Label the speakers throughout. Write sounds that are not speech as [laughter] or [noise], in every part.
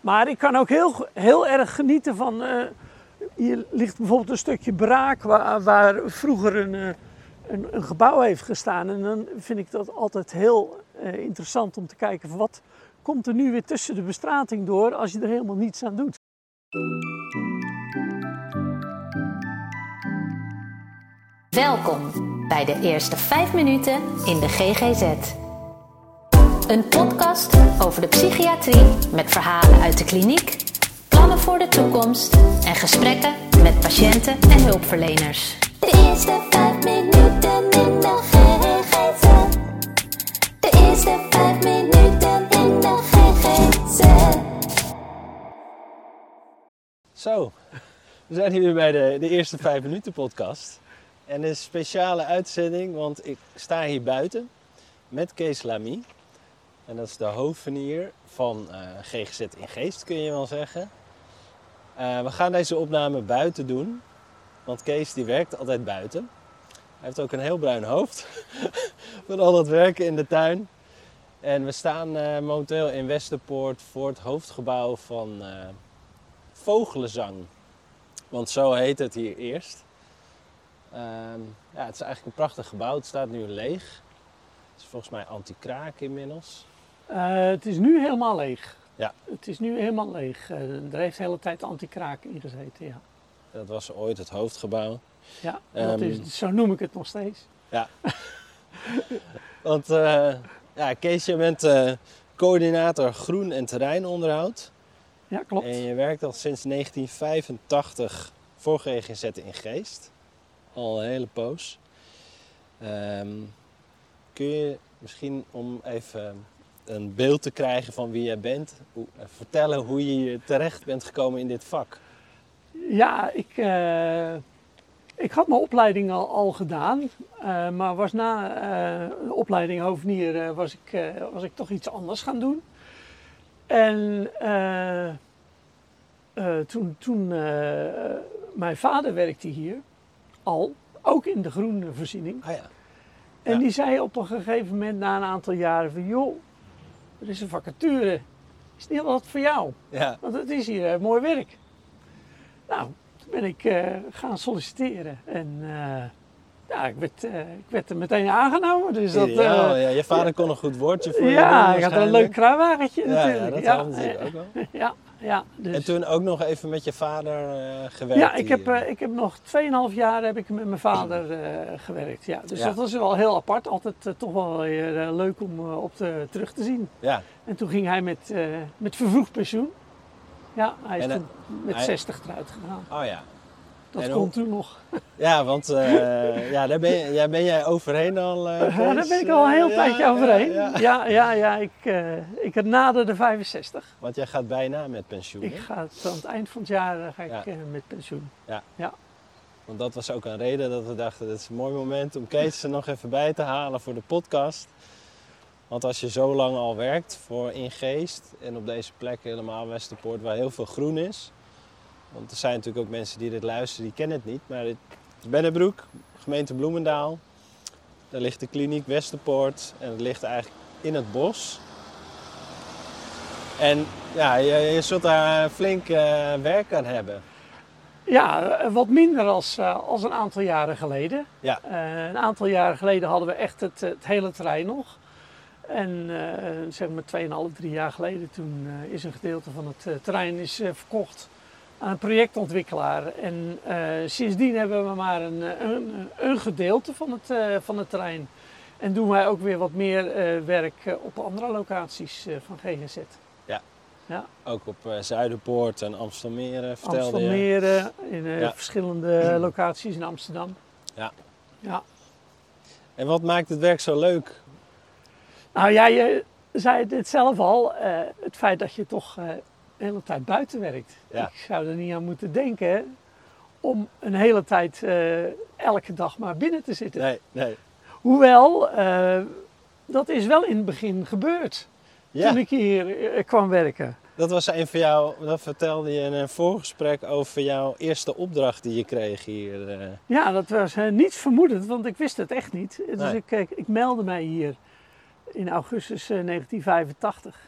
Speaker 1: Maar ik kan ook heel, heel erg genieten van. eh, hier ligt bijvoorbeeld een stukje braak waar, waar vroeger een, eh, een, een gebouw heeft gestaan. En dan vind ik dat altijd heel eh, interessant om te kijken van wat komt er nu weer tussen de bestrating door als je er helemaal niets aan doet.
Speaker 2: Welkom bij de eerste 5 minuten in de GGZ. Een podcast over de psychiatrie met verhalen uit de kliniek, plannen voor de toekomst en gesprekken met patiënten en hulpverleners.
Speaker 3: De eerste vijf minuten in de GGZ. De eerste vijf minuten in de GGZ.
Speaker 4: Zo, we zijn hier weer bij de, de eerste 5 minuten podcast. En een speciale uitzending, want ik sta hier buiten met Kees Lamy. En dat is de hoofdvenier van eh, GGZ in Geest, kun je wel zeggen. Eh, we gaan deze opname buiten doen, want Kees die werkt altijd buiten. Hij heeft ook een heel bruin hoofd [laughs] van al dat werken in de tuin. En we staan eh, momenteel in Westerpoort voor het hoofdgebouw van... eh, vogelenzang. Want zo heet het hier eerst. Ehm, ja, het is eigenlijk een prachtig gebouw. Het staat nu leeg. Het is volgens mij anti-kraak inmiddels.
Speaker 1: Eh, het is nu helemaal leeg.
Speaker 4: Ja.
Speaker 1: Het is nu helemaal leeg. Eh, er heeft de hele tijd anti-kraak in gezeten. Ja,
Speaker 4: Dat was ooit het hoofdgebouw.
Speaker 1: ja dat
Speaker 4: Ehm.
Speaker 1: is, zo noem ik het nog steeds.
Speaker 4: Want eh, ja, Kees, je bent eh, coördinator groen en terreinonderhoud.
Speaker 1: Ja, klopt.
Speaker 4: En je werkt al sinds 1985 voor GGZ in Geest. Al een hele poos. Ehm, kun je misschien om even een beeld te krijgen van wie jij bent, hoe- eh, vertellen hoe je hier terecht bent gekomen in dit vak?
Speaker 1: Ja, ik, eh, ik had mijn opleiding al, al gedaan. eh, maar was na eh de opleiding hoofdnier eh, was, ik, eh, was ik toch iets anders gaan doen. En eh, eh, toen, toen eh, mijn vader werkte hier al, ook in de groene voorziening.
Speaker 4: Ah ja,
Speaker 1: En
Speaker 4: Ja.
Speaker 1: die zei op een gegeven moment na een aantal jaren van... joh, er is een vacature. Is niet wat voor jou?
Speaker 4: ja,
Speaker 1: Want het is hier eh, mooi werk. Nou, toen ben ik eh, gaan solliciteren. En eh, ja, ik werd, eh, ik werd er meteen aangenomen. Dus dat,
Speaker 4: Ideaal,
Speaker 1: eh,
Speaker 4: ja. Je vader kon een goed woordje voor je
Speaker 1: ja,
Speaker 4: doen
Speaker 1: ik had een
Speaker 4: waarschijnlijk.
Speaker 1: leuk kruiwagentje
Speaker 4: ja,
Speaker 1: natuurlijk.
Speaker 4: ja, dat
Speaker 1: ja,
Speaker 4: hadden natuurlijk
Speaker 1: eh,
Speaker 4: ook wel.
Speaker 1: ja, ja, dus-
Speaker 4: En toen ook nog even met je vader eh, gewerkt?
Speaker 1: ja, ik heb,
Speaker 4: hier.
Speaker 1: eh, ik heb nog 2,5 jaar heb ik met mijn vader eh, gewerkt. Ja, dus
Speaker 4: Ja.
Speaker 1: dat was wel heel apart. Altijd eh, toch wel weer eh, leuk om eh, op te, terug te zien.
Speaker 4: ja,
Speaker 1: En toen ging hij met, eh, met vervroegd pensioen. Ja, hij is
Speaker 4: En, eh,
Speaker 1: toen met
Speaker 4: hij-
Speaker 1: 60 eruit gegaan.
Speaker 4: oh ja.
Speaker 1: Dat
Speaker 4: En
Speaker 1: kon
Speaker 4: hoe-
Speaker 1: toen [laughs] nog.
Speaker 4: Ja, want eh, ja, daar ben, je- ja, ben jij overheen al. eh,
Speaker 1: [laughs] Ja, daar
Speaker 4: Kees?
Speaker 1: ben ik al een heel
Speaker 4: Ja,
Speaker 1: tijdje
Speaker 4: ja,
Speaker 1: overheen.
Speaker 4: ja.
Speaker 1: Ja, ja, ja, ik, eh ik nader de 65.
Speaker 4: Want jij gaat bijna met pensioen.
Speaker 1: Ik
Speaker 4: hè?
Speaker 1: ga het- aan het eind van het jaar eh, ga ik
Speaker 4: Ja.
Speaker 1: eh, met pensioen.
Speaker 4: Want dat was ook een reden dat we dachten: dit is een mooi moment om Kees er nog even bij te halen voor de podcast. Want als je zo lang al werkt voor in geest en op deze plek helemaal Westerpoort, waar heel veel groen is. Want er zijn natuurlijk ook mensen die dit luisteren, die kennen het niet. Maar het is Bennebroek, gemeente Bloemendaal. Daar ligt de kliniek Westerpoort en het ligt eigenlijk in het bos. En ja, je, je zult daar flink eh, werk aan hebben.
Speaker 1: Ja, eh, wat minder als, eh, als een aantal jaren geleden.
Speaker 4: Ja.
Speaker 1: Eh, een aantal jaren geleden hadden we echt het, eh, het hele terrein nog. En eh, zeg maar 2,5, 3 jaar geleden toen eh, is een gedeelte van het eh, terrein is, eh, verkocht aan een projectontwikkelaar. En eh, sindsdien hebben we maar een, eh, een, een gedeelte van het, eh, van het terrein. En doen wij ook weer wat meer eh, werk eh, op andere locaties eh, van GGZ.
Speaker 4: Ook op eh, Zuiderpoort en Amstelmeren vertelde je.
Speaker 1: Amstelmeren, in eh,
Speaker 4: Ja.
Speaker 1: verschillende locaties in Amsterdam.
Speaker 4: Ja.
Speaker 1: ja.
Speaker 4: En wat maakt het werk zo leuk?
Speaker 1: Nou ja, je zei het zelf al, eh, het feit dat je toch eh, de hele tijd buiten werkt.
Speaker 4: Ja.
Speaker 1: Ik zou er niet aan moeten denken om een hele tijd eh, elke dag maar binnen te zitten.
Speaker 4: Nee, nee.
Speaker 1: Hoewel, eh, dat is wel in het begin gebeurd
Speaker 4: Ja,
Speaker 1: toen ik hier eh, kwam werken.
Speaker 4: dat was een van jou. Dat vertelde je in een voorgesprek over jouw eerste opdracht die je kreeg hier. eh.
Speaker 1: Ja, dat was eh, niet vermoedend, want ik wist het echt niet. Dus
Speaker 4: Nee.
Speaker 1: ik, eh, ik meldde mij hier in augustus eh, 1985.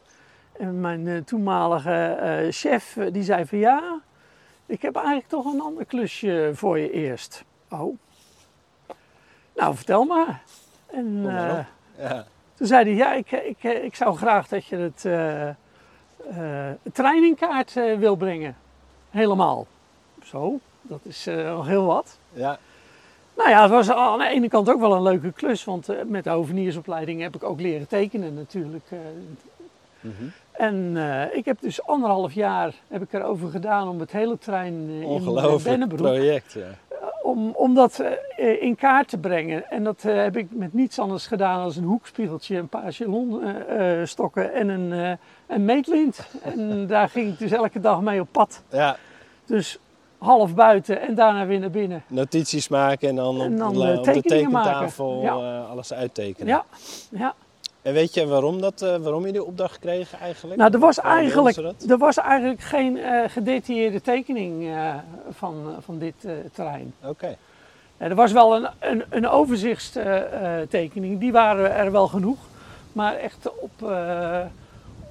Speaker 1: En mijn eh, toenmalige eh, chef, eh, die zei van ja, ik heb eigenlijk toch een ander klusje voor je eerst. Oh. Nou, vertel maar. En
Speaker 4: maar
Speaker 1: eh,
Speaker 4: op. Ja.
Speaker 1: toen zei hij, ja, ik, ik, eh, ik zou graag dat je het eh eh, trein in kaart eh, wil brengen. Helemaal. Zo, dat is eh, nog heel wat.
Speaker 4: Ja.
Speaker 1: Nou ja, het was aan de ene kant ook wel een leuke klus, want eh, met de hoveniersopleiding heb ik ook leren tekenen natuurlijk. eh. En eh, ik heb dus anderhalf jaar heb ik erover gedaan om het hele trein eh, in
Speaker 4: Ongelooflijk
Speaker 1: Bennebroek
Speaker 4: project. Ja.
Speaker 1: om, om dat eh, in kaart te brengen. En dat eh, heb ik met niets anders gedaan dan een hoekspiegeltje, een paar chalonstokken en een, eh, een meetlint. En daar ging ik dus elke dag mee op pad.
Speaker 4: ja.
Speaker 1: Dus half buiten en daarna weer naar binnen.
Speaker 4: Notities maken en dan op,
Speaker 1: En dan,
Speaker 4: la-
Speaker 1: eh,
Speaker 4: op de
Speaker 1: tekeningen
Speaker 4: tekentafel
Speaker 1: maken.
Speaker 4: eh, alles uittekenen.
Speaker 1: Ja, ja.
Speaker 4: En weet je waarom, dat, eh, waarom je die opdracht kreeg eigenlijk?
Speaker 1: Nou, er was
Speaker 4: Waarom wilden
Speaker 1: eigenlijk,
Speaker 4: ze dat?
Speaker 1: er was eigenlijk geen eh, gedetailleerde tekening eh, van, van dit eh, terrein.
Speaker 4: Oké.
Speaker 1: Ja, er was wel een, een, een overzichtstekening, eh, die waren er wel genoeg. Maar echt op, eh,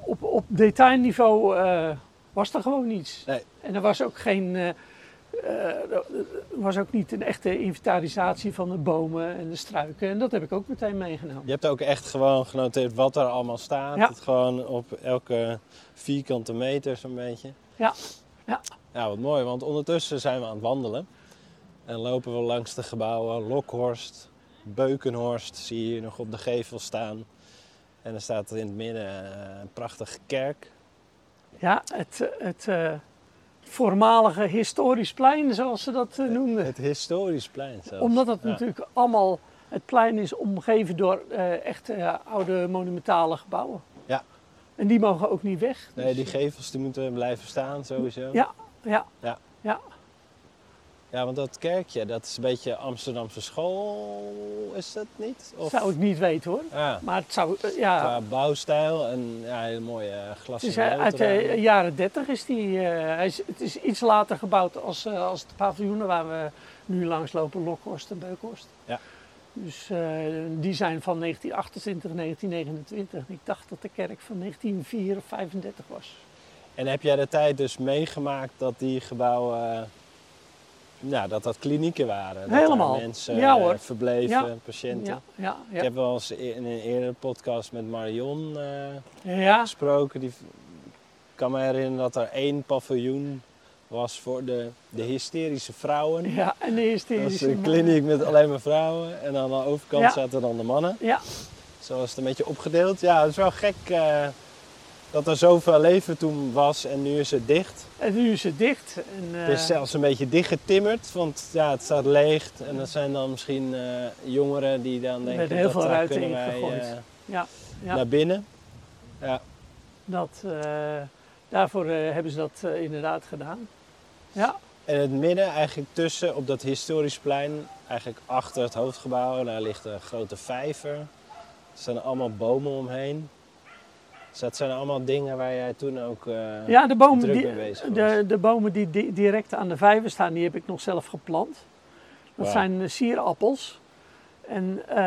Speaker 1: op, op detailniveau eh, was er gewoon niets.
Speaker 4: Nee.
Speaker 1: En er was ook geen. eh, eh, er was ook niet een echte inventarisatie van de bomen en de struiken. En dat heb ik ook meteen meegenomen.
Speaker 4: Je hebt ook echt gewoon genoteerd wat er allemaal staat.
Speaker 1: Ja.
Speaker 4: Het gewoon op elke vierkante meter zo'n beetje.
Speaker 1: Ja. Ja.
Speaker 4: Ja, wat mooi. Want ondertussen zijn we aan het wandelen. En lopen we langs de gebouwen. Lokhorst, Beukenhorst zie je hier nog op de gevel staan. En er staat er in het midden eh, een prachtige kerk.
Speaker 1: Ja, het, eh, het eh, voormalige historisch plein, zoals ze dat eh, noemden.
Speaker 4: Het historisch plein zelfs.
Speaker 1: Omdat dat
Speaker 4: Ja.
Speaker 1: natuurlijk allemaal, het plein is omgeven door eh echte ja, oude monumentale gebouwen.
Speaker 4: Ja.
Speaker 1: En die mogen ook niet weg.
Speaker 4: Nee,
Speaker 1: Dus,
Speaker 4: die gevels die moeten blijven staan sowieso.
Speaker 1: Ja, ja,
Speaker 4: Ja.
Speaker 1: ja.
Speaker 4: Ja, want dat kerkje, dat is een beetje Amsterdamse school, is dat niet? Of... Ah.
Speaker 1: Zou ik niet weten hoor.
Speaker 4: Ja.
Speaker 1: Maar het zou, eh, ja,
Speaker 4: Qua bouwstijl en ja, hele mooie eh,
Speaker 1: het
Speaker 4: glas.
Speaker 1: is
Speaker 4: en
Speaker 1: eh, uit
Speaker 4: lood
Speaker 1: de
Speaker 4: eraan.
Speaker 1: jaren 30 is die, eh, hij is, het is iets later gebouwd als, eh, als de paviljoenen waar we nu langs lopen, Lokhorst en Beukhorst.
Speaker 4: Ja.
Speaker 1: Dus eh, die zijn van 1928, 1929. Ik dacht dat de kerk van 1904 of 35 was.
Speaker 4: En heb jij de tijd dus meegemaakt dat die gebouwen, eh, nou, dat dat klinieken waren? Dat daar
Speaker 1: Helemaal.
Speaker 4: mensen
Speaker 1: Ja,
Speaker 4: eh,
Speaker 1: hoor.
Speaker 4: verbleven,
Speaker 1: Ja.
Speaker 4: patiënten.
Speaker 1: Ja, ja,
Speaker 4: Ik
Speaker 1: ja.
Speaker 4: heb wel eens e- in een eerdere podcast met Marion
Speaker 1: Ah.
Speaker 4: eh,
Speaker 1: ja.
Speaker 4: gesproken. Die v- ik kan me herinneren dat er één paviljoen was voor de, de hysterische vrouwen.
Speaker 1: Ja, en de hysterische
Speaker 4: Dat is een
Speaker 1: mannen.
Speaker 4: kliniek met alleen maar vrouwen. En aan de overkant
Speaker 1: Ja.
Speaker 4: zaten dan de mannen.
Speaker 1: Ja,
Speaker 4: Zo was het een beetje opgedeeld. Ja, het is wel gek eh, dat er zoveel leven toen was en nu is het dicht.
Speaker 1: en nu is het dicht. En, eh,
Speaker 4: Het is zelfs een beetje dichtgetimmerd, want ja, het staat leeg. En dat zijn dan misschien eh, jongeren die dan denken
Speaker 1: werden heel
Speaker 4: dat
Speaker 1: veel
Speaker 4: daar
Speaker 1: ruiten
Speaker 4: kunnen wij
Speaker 1: ingegooid.
Speaker 4: eh,
Speaker 1: ja, ja.
Speaker 4: naar binnen.
Speaker 1: dat, eh, daarvoor eh, hebben ze dat eh, inderdaad gedaan. Ja,
Speaker 4: En het midden, eigenlijk tussen, op dat historisch plein, eigenlijk achter het hoofdgebouw, daar ligt een grote vijver. Er staan allemaal bomen omheen. Dus dat zijn allemaal dingen waar jij toen ook... eh,
Speaker 1: ja de, bomen
Speaker 4: druk
Speaker 1: die,
Speaker 4: mee bezig was.
Speaker 1: de, de bomen die di- direct aan de vijver staan, die heb ik nog zelf geplant. Dat
Speaker 4: Wauw.
Speaker 1: zijn eh, sierappels. En eh,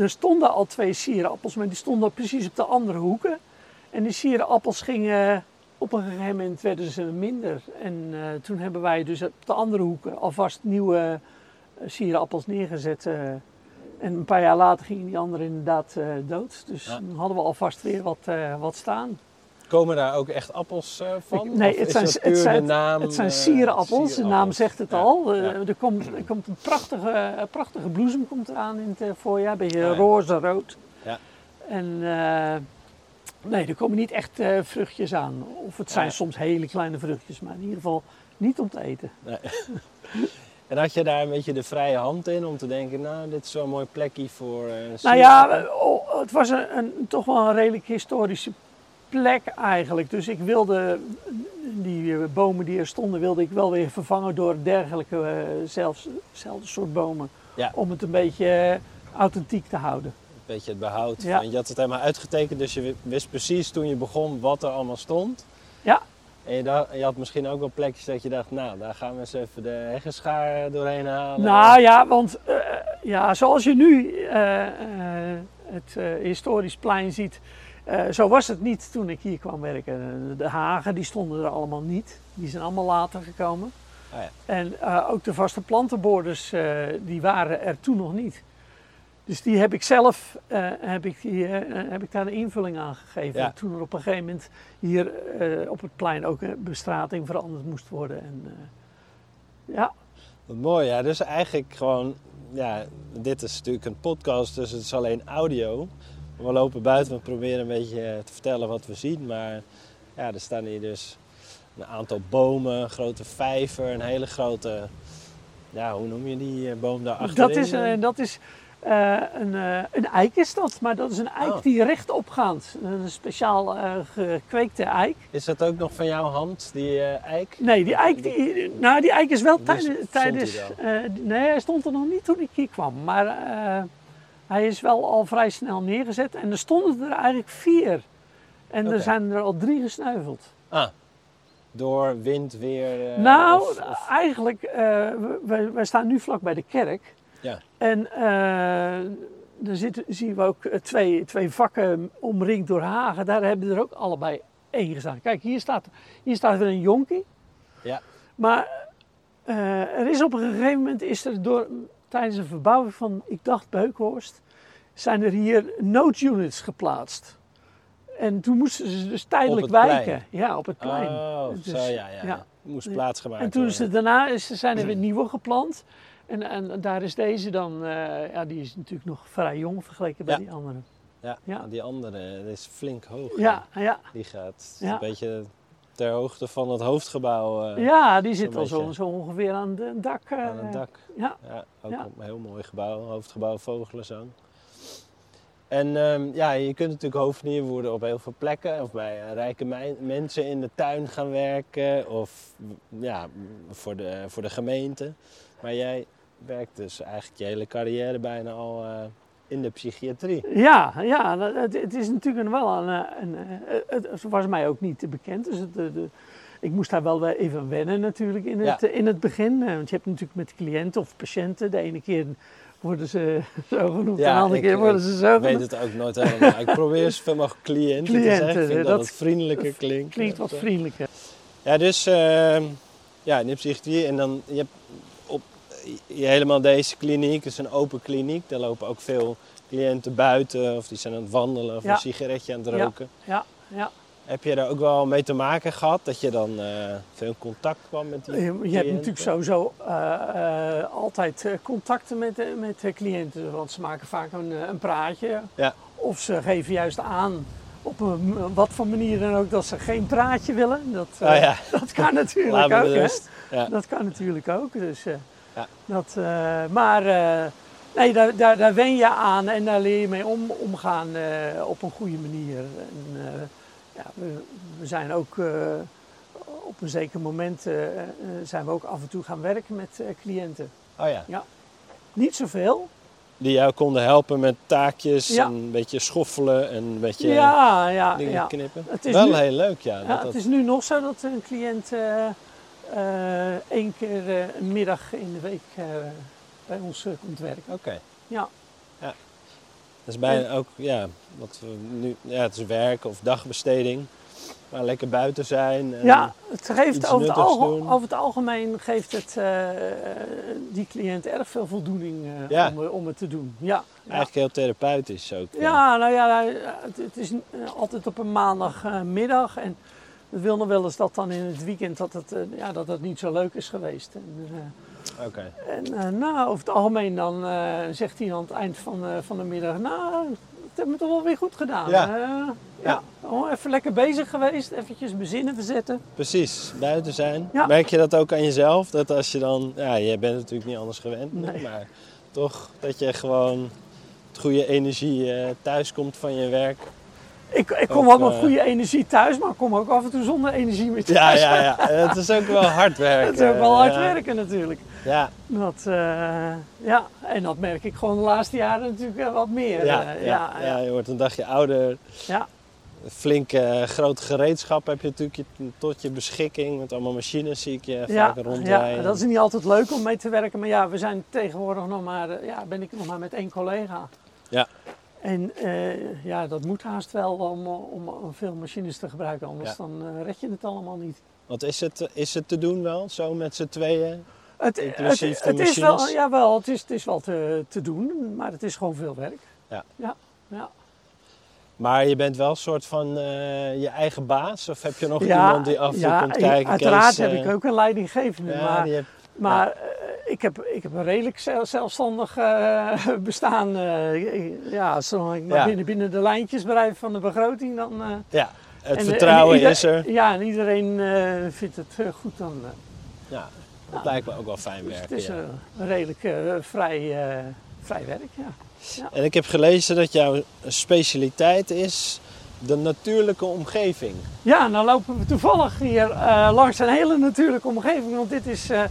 Speaker 1: er stonden al twee sierappels, maar die stonden precies op de andere hoeken. En die sierappels gingen, op een gegeven moment werden ze minder. En eh, toen hebben wij dus op de andere hoeken alvast nieuwe eh, sierappels neergezet. eh. en een paar jaar later gingen die anderen inderdaad eh, dood. Dus
Speaker 4: Ja.
Speaker 1: dan hadden we alvast weer wat, eh, wat staan.
Speaker 4: Komen daar ook echt appels eh, van?
Speaker 1: Ik- nee,
Speaker 4: Of
Speaker 1: het
Speaker 4: is
Speaker 1: zijn-
Speaker 4: dat
Speaker 1: het
Speaker 4: puur
Speaker 1: zijn-
Speaker 4: de naam,
Speaker 1: Het zijn
Speaker 4: eh,
Speaker 1: sierappels, de naam
Speaker 4: sierappels?
Speaker 1: zegt het
Speaker 4: Ja,
Speaker 1: al. Eh,
Speaker 4: ja.
Speaker 1: Er, komt, er komt een prachtige, eh, prachtige bloesem komt eraan in het eh, voorjaar, een beetje
Speaker 4: Ah, ja.
Speaker 1: roze rood.
Speaker 4: Ja.
Speaker 1: En eh, nee, er komen niet echt eh, vruchtjes aan. Of het zijn
Speaker 4: ja.
Speaker 1: soms hele kleine vruchtjes, maar in ieder geval niet om te eten.
Speaker 4: En had je daar een beetje de vrije hand in om te denken, nou, dit is wel een mooi plekje voor eh
Speaker 1: Nou
Speaker 4: sierappel?
Speaker 1: ja, eh, oh, het was een, een, toch wel een redelijk historische plek eigenlijk. Dus ik wilde die eh, bomen die er stonden, wilde ik wel weer vervangen door dergelijke, eh, zelfs, zelfde soort bomen.
Speaker 4: Ja.
Speaker 1: Om het een beetje eh, authentiek te houden.
Speaker 4: Een beetje het behoud.
Speaker 1: Ja.
Speaker 4: Want je had het helemaal uitgetekend, dus je wist precies toen je begon wat er allemaal stond.
Speaker 1: Ja,
Speaker 4: En je, dacht- je had misschien ook wel plekjes dat je dacht, nou, daar gaan we eens even de heggenschaar doorheen halen.
Speaker 1: nou ja, want eh, ja, zoals je nu eh, eh, het eh, historisch plein ziet, Eh, zo was het niet toen ik hier kwam werken. De hagen die stonden er allemaal niet. Die zijn allemaal later gekomen.
Speaker 4: Ah ja.
Speaker 1: En eh, ook de vaste plantenborders eh, die waren er toen nog niet. Dus die heb ik zelf eh, heb ik die, eh, heb ik daar de invulling aan gegeven.
Speaker 4: Ja.
Speaker 1: Toen er op een gegeven moment hier eh, op het plein ook een bestrating veranderd moest worden. En, eh, ja,
Speaker 4: Wat mooi, ja. Dus eigenlijk gewoon, ja, dit is natuurlijk een podcast, dus het is alleen audio. We lopen buiten, we proberen een beetje eh, te vertellen wat we zien. Maar ja, er staan hier dus een aantal bomen, een grote vijver, een hele grote, ja, hoe noem je die eh, boom daar achterin?
Speaker 1: dat is, een, dat is eh, een, eh, een eik is dat. Maar dat is een eik
Speaker 4: Oh.
Speaker 1: die rechtop gaat. Een speciaal eh, gekweekte eik.
Speaker 4: Is dat ook nog van jouw hand, die eh, eik?
Speaker 1: Nee, die eik, die, nou, die eik is wel
Speaker 4: Dus
Speaker 1: tijdens.
Speaker 4: stond hij
Speaker 1: tijdens eh, nee, hij stond er nog niet toen ik hier kwam. Maar eh, hij is wel al vrij snel neergezet. En er stonden er eigenlijk vier. En
Speaker 4: Oké.
Speaker 1: er zijn er al drie gesneuveld.
Speaker 4: Ah, door wind, weer. eh,
Speaker 1: nou,
Speaker 4: of- of-
Speaker 1: eigenlijk, eh, we- wij, wij staan nu vlak bij de kerk.
Speaker 4: ja,
Speaker 1: En eh dan zitten, zien we ook eh, twee, twee vakken omringd door hagen. Daar hebben er ook allebei één gestaan. Kijk, hier staat, hier staat weer een jonkie.
Speaker 4: ja.
Speaker 1: Maar eh, er is op een gegeven moment, is er door, tijdens een verbouwing van, ik dacht Beukhorst, zijn er hier noodunits geplaatst. En toen moesten ze dus tijdelijk
Speaker 4: Op het plein.
Speaker 1: wijken. Ja, op het plein.
Speaker 4: Oh,
Speaker 1: Dus,
Speaker 4: zo, ja, ja. eh, ja. Moest plaatsgemaakt
Speaker 1: En toen is er,
Speaker 4: worden.
Speaker 1: daarna is, zijn er weer
Speaker 4: Hmm.
Speaker 1: nieuwe geplant. En, en daar is deze dan, eh, ja, die is natuurlijk nog vrij jong vergeleken bij
Speaker 4: Ja.
Speaker 1: die andere.
Speaker 4: Ja,
Speaker 1: ja.
Speaker 4: die andere die is flink hoog.
Speaker 1: Ja, ja.
Speaker 4: Die gaat
Speaker 1: Ja.
Speaker 4: een beetje ter hoogte van het hoofdgebouw eh,
Speaker 1: Ja, die zit
Speaker 4: Zo'n
Speaker 1: al zo,
Speaker 4: beetje.
Speaker 1: zo ongeveer aan de- het dak. eh,
Speaker 4: aan het dak.
Speaker 1: Ja.
Speaker 4: Ja, ook
Speaker 1: Ja.
Speaker 4: een heel mooi gebouw, hoofdgebouw Vogelenzang. En ehm, ja, je kunt natuurlijk hoofdnier worden op heel veel plekken. Of bij eh, rijke mei- mensen in de tuin gaan werken. Of mm, ja, mm, voor de, voor de gemeente. Maar jij werkt dus eigenlijk je hele carrière bijna al eh, in de psychiatrie.
Speaker 1: Ja, ja dat- het, het is natuurlijk wel een. eh, een eh, het, het was mij ook niet bekend. Dus het, eh, de- ik moest daar wel weer even wennen, natuurlijk, in het,
Speaker 4: Ja.
Speaker 1: eh, in het begin. Eh, Want je hebt natuurlijk met cliënten of patiënten. De ene keer worden ze [laughs] zo genoemd,
Speaker 4: Ja,
Speaker 1: de andere
Speaker 4: ik,
Speaker 1: keer
Speaker 4: eh,
Speaker 1: worden ze zo
Speaker 4: Ik weet
Speaker 1: genoemd.
Speaker 4: het ook nooit helemaal. Ik probeer zoveel mogelijk cliënten, te
Speaker 1: Cliënten,
Speaker 4: zeggen. Ik vind dat,
Speaker 1: dat
Speaker 4: het vriendelijker klinkt. eh,
Speaker 1: Klinkt wat vriendelijker.
Speaker 4: Ja, dus ehm, ja, in de psychiatrie. En dan je hebt op je, helemaal deze kliniek, het is een open kliniek. Daar lopen ook veel cliënten buiten of die zijn aan het wandelen of
Speaker 1: Ja.
Speaker 4: een sigaretje aan het
Speaker 1: Ja.
Speaker 4: roken.
Speaker 1: Ja, ja.
Speaker 4: Heb je daar ook wel mee te maken gehad dat je dan eh, veel in contact kwam met die
Speaker 1: Je, je hebt
Speaker 4: cliënten?
Speaker 1: natuurlijk sowieso eh, eh, altijd eh, contacten met, eh, met eh, cliënten, want ze maken vaak een, eh, een praatje.
Speaker 4: Ja.
Speaker 1: Of ze geven juist aan, op een, wat voor manier dan ook, dat ze geen praatje willen. Dat, eh, [laughs]
Speaker 4: Oh ja.
Speaker 1: dat kan natuurlijk
Speaker 4: Laat me
Speaker 1: ook.
Speaker 4: met
Speaker 1: hè.
Speaker 4: rust. Ja.
Speaker 1: Dat kan natuurlijk ook. Dus, eh,
Speaker 4: Ja.
Speaker 1: dat, eh, maar eh, nee, daar, daar, daar wen je aan en daar leer je mee om, omgaan eh, op een goede manier. En, eh, ja, we, we zijn ook eh, op een zeker moment eh, eh, zijn we ook af en toe gaan werken met eh, cliënten.
Speaker 4: Oh ja.
Speaker 1: Niet zoveel.
Speaker 4: Die jou konden helpen met taakjes
Speaker 1: Ja.
Speaker 4: en een beetje schoffelen en een beetje
Speaker 1: ja, ja,
Speaker 4: dingen
Speaker 1: ja.
Speaker 4: knippen.
Speaker 1: Het is
Speaker 4: wel
Speaker 1: nu-
Speaker 4: heel leuk, ja. dat
Speaker 1: Ja,
Speaker 4: dat-
Speaker 1: het is nu nog zo dat een cliënt eh, eh, één keer eh, een middag in de week eh, bij ons eh, komt werken.
Speaker 4: Oké.
Speaker 1: Ja.
Speaker 4: Dat is bijna ook, ja, wat we nu, ja, het is werk of dagbesteding. Maar lekker buiten zijn. En,
Speaker 1: Ja, het geeft
Speaker 4: iets
Speaker 1: over, het
Speaker 4: nuttigs
Speaker 1: alge-
Speaker 4: doen.
Speaker 1: over het algemeen geeft het eh, die cliënt erg veel voldoening eh,
Speaker 4: Ja.
Speaker 1: om, om het te doen. Ja, ja.
Speaker 4: Eigenlijk heel therapeutisch ook. eh.
Speaker 1: ja nou ja, hij- het, het is eh, altijd op een maandagmiddag. en dat wil nog wel eens dat dan in het weekend dat het, eh, ja, dat het niet zo leuk is geweest. En, eh,
Speaker 4: Oké.
Speaker 1: En eh, nou, over het algemeen dan eh, zegt hij aan het eind van, eh, van de middag, nou, dat hebben we toch wel weer goed gedaan.
Speaker 4: Ja.
Speaker 1: hè? ja. Oh, even lekker bezig geweest, eventjes bezinnen verzetten.
Speaker 4: Precies, buiten zijn.
Speaker 1: Ja.
Speaker 4: Merk je dat ook aan jezelf? Dat als je dan, ja, je bent natuurlijk niet anders gewend, nu,
Speaker 1: Nee.
Speaker 4: maar toch dat je gewoon het goede energie eh, thuis komt van je werk.
Speaker 1: Ik, ik kom
Speaker 4: Ook,
Speaker 1: ook, met
Speaker 4: eh,
Speaker 1: goede energie thuis, maar ik kom ook af en toe zonder energie meer
Speaker 4: [laughs]
Speaker 1: [laughs]
Speaker 4: Ja,
Speaker 1: thuis.
Speaker 4: ja, ja. En Het is ook wel hard werken.
Speaker 1: Het is ook wel hard
Speaker 4: ja.
Speaker 1: werken natuurlijk.
Speaker 4: Ja,
Speaker 1: Dat, eh, ja, en dat merk ik gewoon de laatste jaren natuurlijk eh, wat meer.
Speaker 4: ja, ja,
Speaker 1: eh,
Speaker 4: ja,
Speaker 1: ja,
Speaker 4: je wordt een dagje ouder.
Speaker 1: ja.
Speaker 4: flink eh, groot gereedschap heb je natuurlijk je- tot je beschikking. Met allemaal machines zie ik je vaak rondrijden.
Speaker 1: Ja, dat is niet altijd leuk om mee te werken. Maar ja, we zijn tegenwoordig nog maar, eh, ja, ben ik nog maar met één collega.
Speaker 4: Ja.
Speaker 1: En eh, ja, dat moet haast wel om, eh, om, om veel machines te gebruiken, anders
Speaker 4: Ja.
Speaker 1: dan eh, red je het allemaal niet.
Speaker 4: Want is het, eh, is het te doen wel, zo met z'n tweeën?
Speaker 1: Het,
Speaker 4: Inclusief
Speaker 1: het,
Speaker 4: de
Speaker 1: het is wel,
Speaker 4: machines?
Speaker 1: jawel, het is, het is wel te, te doen, maar het is gewoon veel werk.
Speaker 4: Ja.
Speaker 1: Ja, ja.
Speaker 4: Maar je bent wel een soort van eh, je eigen baas? Of heb je nog
Speaker 1: Ja,
Speaker 4: iemand die af en toe
Speaker 1: ja,
Speaker 4: komt kijken?
Speaker 1: Uiteraard
Speaker 4: Kees,
Speaker 1: heb
Speaker 4: eh,
Speaker 1: ik ook een leidinggevende,
Speaker 4: ja,
Speaker 1: maar,
Speaker 4: die heb-
Speaker 1: maar eh, ik, heb, ik heb een redelijk zel- zelfstandig eh, bestaan. eh, ja, zolang ik maar
Speaker 4: Ja.
Speaker 1: binnen, binnen de lijntjes blijf van de begroting, dan... eh,
Speaker 4: ja, het
Speaker 1: en-
Speaker 4: vertrouwen
Speaker 1: en ieder-
Speaker 4: is er.
Speaker 1: Ja, en iedereen eh, vindt het eh, goed dan. eh,
Speaker 4: Ja, dat lijkt me ook wel fijn
Speaker 1: dus het
Speaker 4: werken.
Speaker 1: is
Speaker 4: ja.
Speaker 1: eh, een redelijk eh, vrij, eh, vrij werk, ja.
Speaker 4: En ik heb gelezen dat jouw specialiteit is de natuurlijke omgeving.
Speaker 1: Ja, nou lopen we toevallig hier eh, langs een hele natuurlijke omgeving. Want dit is eh,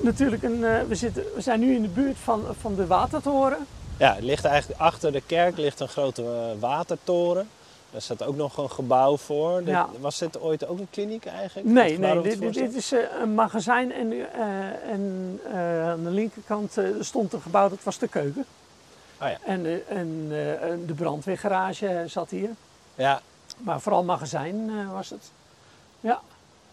Speaker 1: natuurlijk een. eh, we, zitten, we zijn nu in de buurt van, van de Watertoren.
Speaker 4: Ja, het ligt eigenlijk achter de kerk ligt een grote eh, watertoren. Daar staat ook nog een gebouw voor. Dit-
Speaker 1: Ja.
Speaker 4: Was dit ooit ook een kliniek eigenlijk?
Speaker 1: Nee,
Speaker 4: Of waar
Speaker 1: nee,
Speaker 4: we het
Speaker 1: dit,
Speaker 4: voor
Speaker 1: dit, dit
Speaker 4: staan?
Speaker 1: is eh, een magazijn. En, eh, en eh, aan de linkerkant eh, stond een gebouw, dat was de keuken.
Speaker 4: Oh ja.
Speaker 1: En, eh, en eh, en de brandweergarage zat hier.
Speaker 4: Ja,
Speaker 1: Maar vooral magazijn eh, was het. Ja,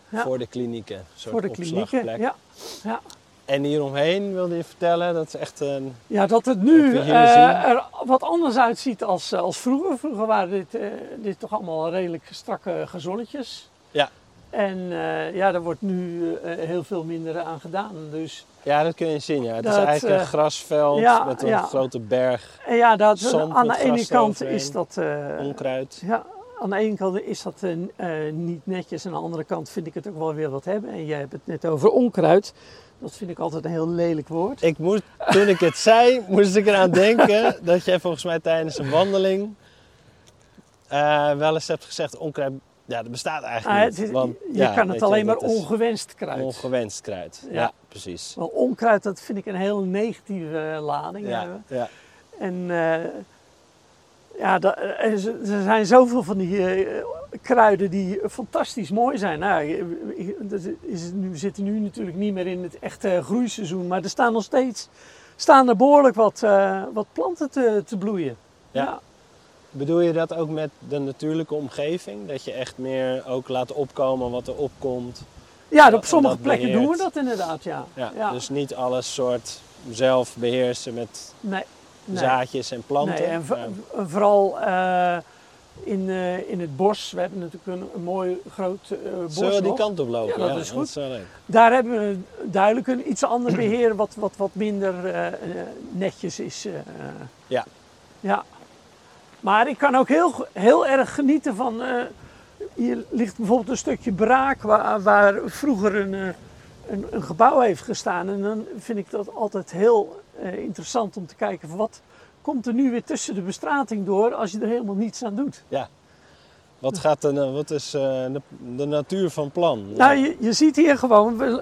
Speaker 1: Ja.
Speaker 4: voor de klinieken. Een soort
Speaker 1: voor de klinieken.
Speaker 4: opslagplek.
Speaker 1: Ja, ja.
Speaker 4: En hieromheen wilde je vertellen, dat is echt een...
Speaker 1: Ja, dat het nu
Speaker 4: Wat we hier
Speaker 1: eh,
Speaker 4: zien.
Speaker 1: er wat anders uitziet als, eh, als vroeger. Vroeger waren dit, eh, dit toch allemaal redelijk strakke gazonnetjes.
Speaker 4: Ja.
Speaker 1: En eh, ja, daar wordt nu eh, heel veel minder aan gedaan. Dus
Speaker 4: Ja, dat kun je zien. Ja. Het is
Speaker 1: Dat,
Speaker 4: eigenlijk
Speaker 1: eh,
Speaker 4: een grasveld
Speaker 1: ja,
Speaker 4: met een
Speaker 1: ja.
Speaker 4: grote berg
Speaker 1: en ja, dat,
Speaker 4: Zand
Speaker 1: aan
Speaker 4: met
Speaker 1: de ene
Speaker 4: gras
Speaker 1: kant
Speaker 4: eroverheen.
Speaker 1: is dat... eh,
Speaker 4: onkruid.
Speaker 1: ja, aan de ene kant is dat eh, eh, niet netjes. Aan de andere kant vind ik het ook wel weer wat hebben. En jij hebt het net over onkruid. Dat vind ik altijd een heel lelijk woord.
Speaker 4: Ik moest, toen ik het zei, moest ik eraan denken dat jij volgens mij tijdens een wandeling eh, wel eens hebt gezegd, onkruid, ja, dat bestaat
Speaker 1: Ah,
Speaker 4: eigenlijk
Speaker 1: het
Speaker 4: niet.
Speaker 1: is-
Speaker 4: want,
Speaker 1: je
Speaker 4: ja,
Speaker 1: kan
Speaker 4: weet
Speaker 1: het alleen maar
Speaker 4: dat is
Speaker 1: ongewenst kruid.
Speaker 4: ongewenst kruid. Ja,
Speaker 1: Ja.
Speaker 4: precies.
Speaker 1: Want onkruid, dat vind ik een heel negatieve eh, lading
Speaker 4: Ja,
Speaker 1: hebben.
Speaker 4: ja.
Speaker 1: En eh, ja, da- eh, er is- er zijn zoveel van die eh, kruiden die fantastisch mooi zijn. Nou, je- je- dat is het nu, we zitten nu natuurlijk niet meer in het echte eh, groeiseizoen, maar er staan nog steeds staan er behoorlijk wat, eh, wat planten te, te bloeien.
Speaker 4: Ja. Bedoel je dat ook met de natuurlijke omgeving? Dat je echt meer ook laat opkomen wat er opkomt?
Speaker 1: ja
Speaker 4: Ja,
Speaker 1: op sommige
Speaker 4: dat
Speaker 1: plekken doen we
Speaker 4: beheert.
Speaker 1: dat inderdaad, ja.
Speaker 4: Ja,
Speaker 1: Ja.
Speaker 4: Dus niet alles soort zelf beheersen met
Speaker 1: nee, nee.
Speaker 4: zaadjes en planten.
Speaker 1: Nee, en, vo-
Speaker 4: maar-
Speaker 1: en vooral eh, in, eh, in het bos. We hebben natuurlijk een, een mooi groot eh, bos.
Speaker 4: Zullen we die
Speaker 1: nog.
Speaker 4: kant op lopen?
Speaker 1: Ja, dat is goed.
Speaker 4: is wel leuk.
Speaker 1: Daar hebben we duidelijk een iets
Speaker 4: [clears throat]
Speaker 1: ander beheer wat, wat, wat minder eh, eh, netjes is. eh.
Speaker 4: Ja.
Speaker 1: ja. Maar ik kan ook heel, go- heel erg genieten van. eh, hier ligt bijvoorbeeld een stukje braak waar, waar vroeger een, eh, een, een gebouw heeft gestaan. En dan vind ik dat altijd heel eh, interessant om te kijken van wat komt er nu weer tussen de bestrating door als je er helemaal niets aan doet.
Speaker 4: Wat, gaat de, na- wat is eh, de, de natuur van plan?
Speaker 1: Nou, je, je ziet hier gewoon, we,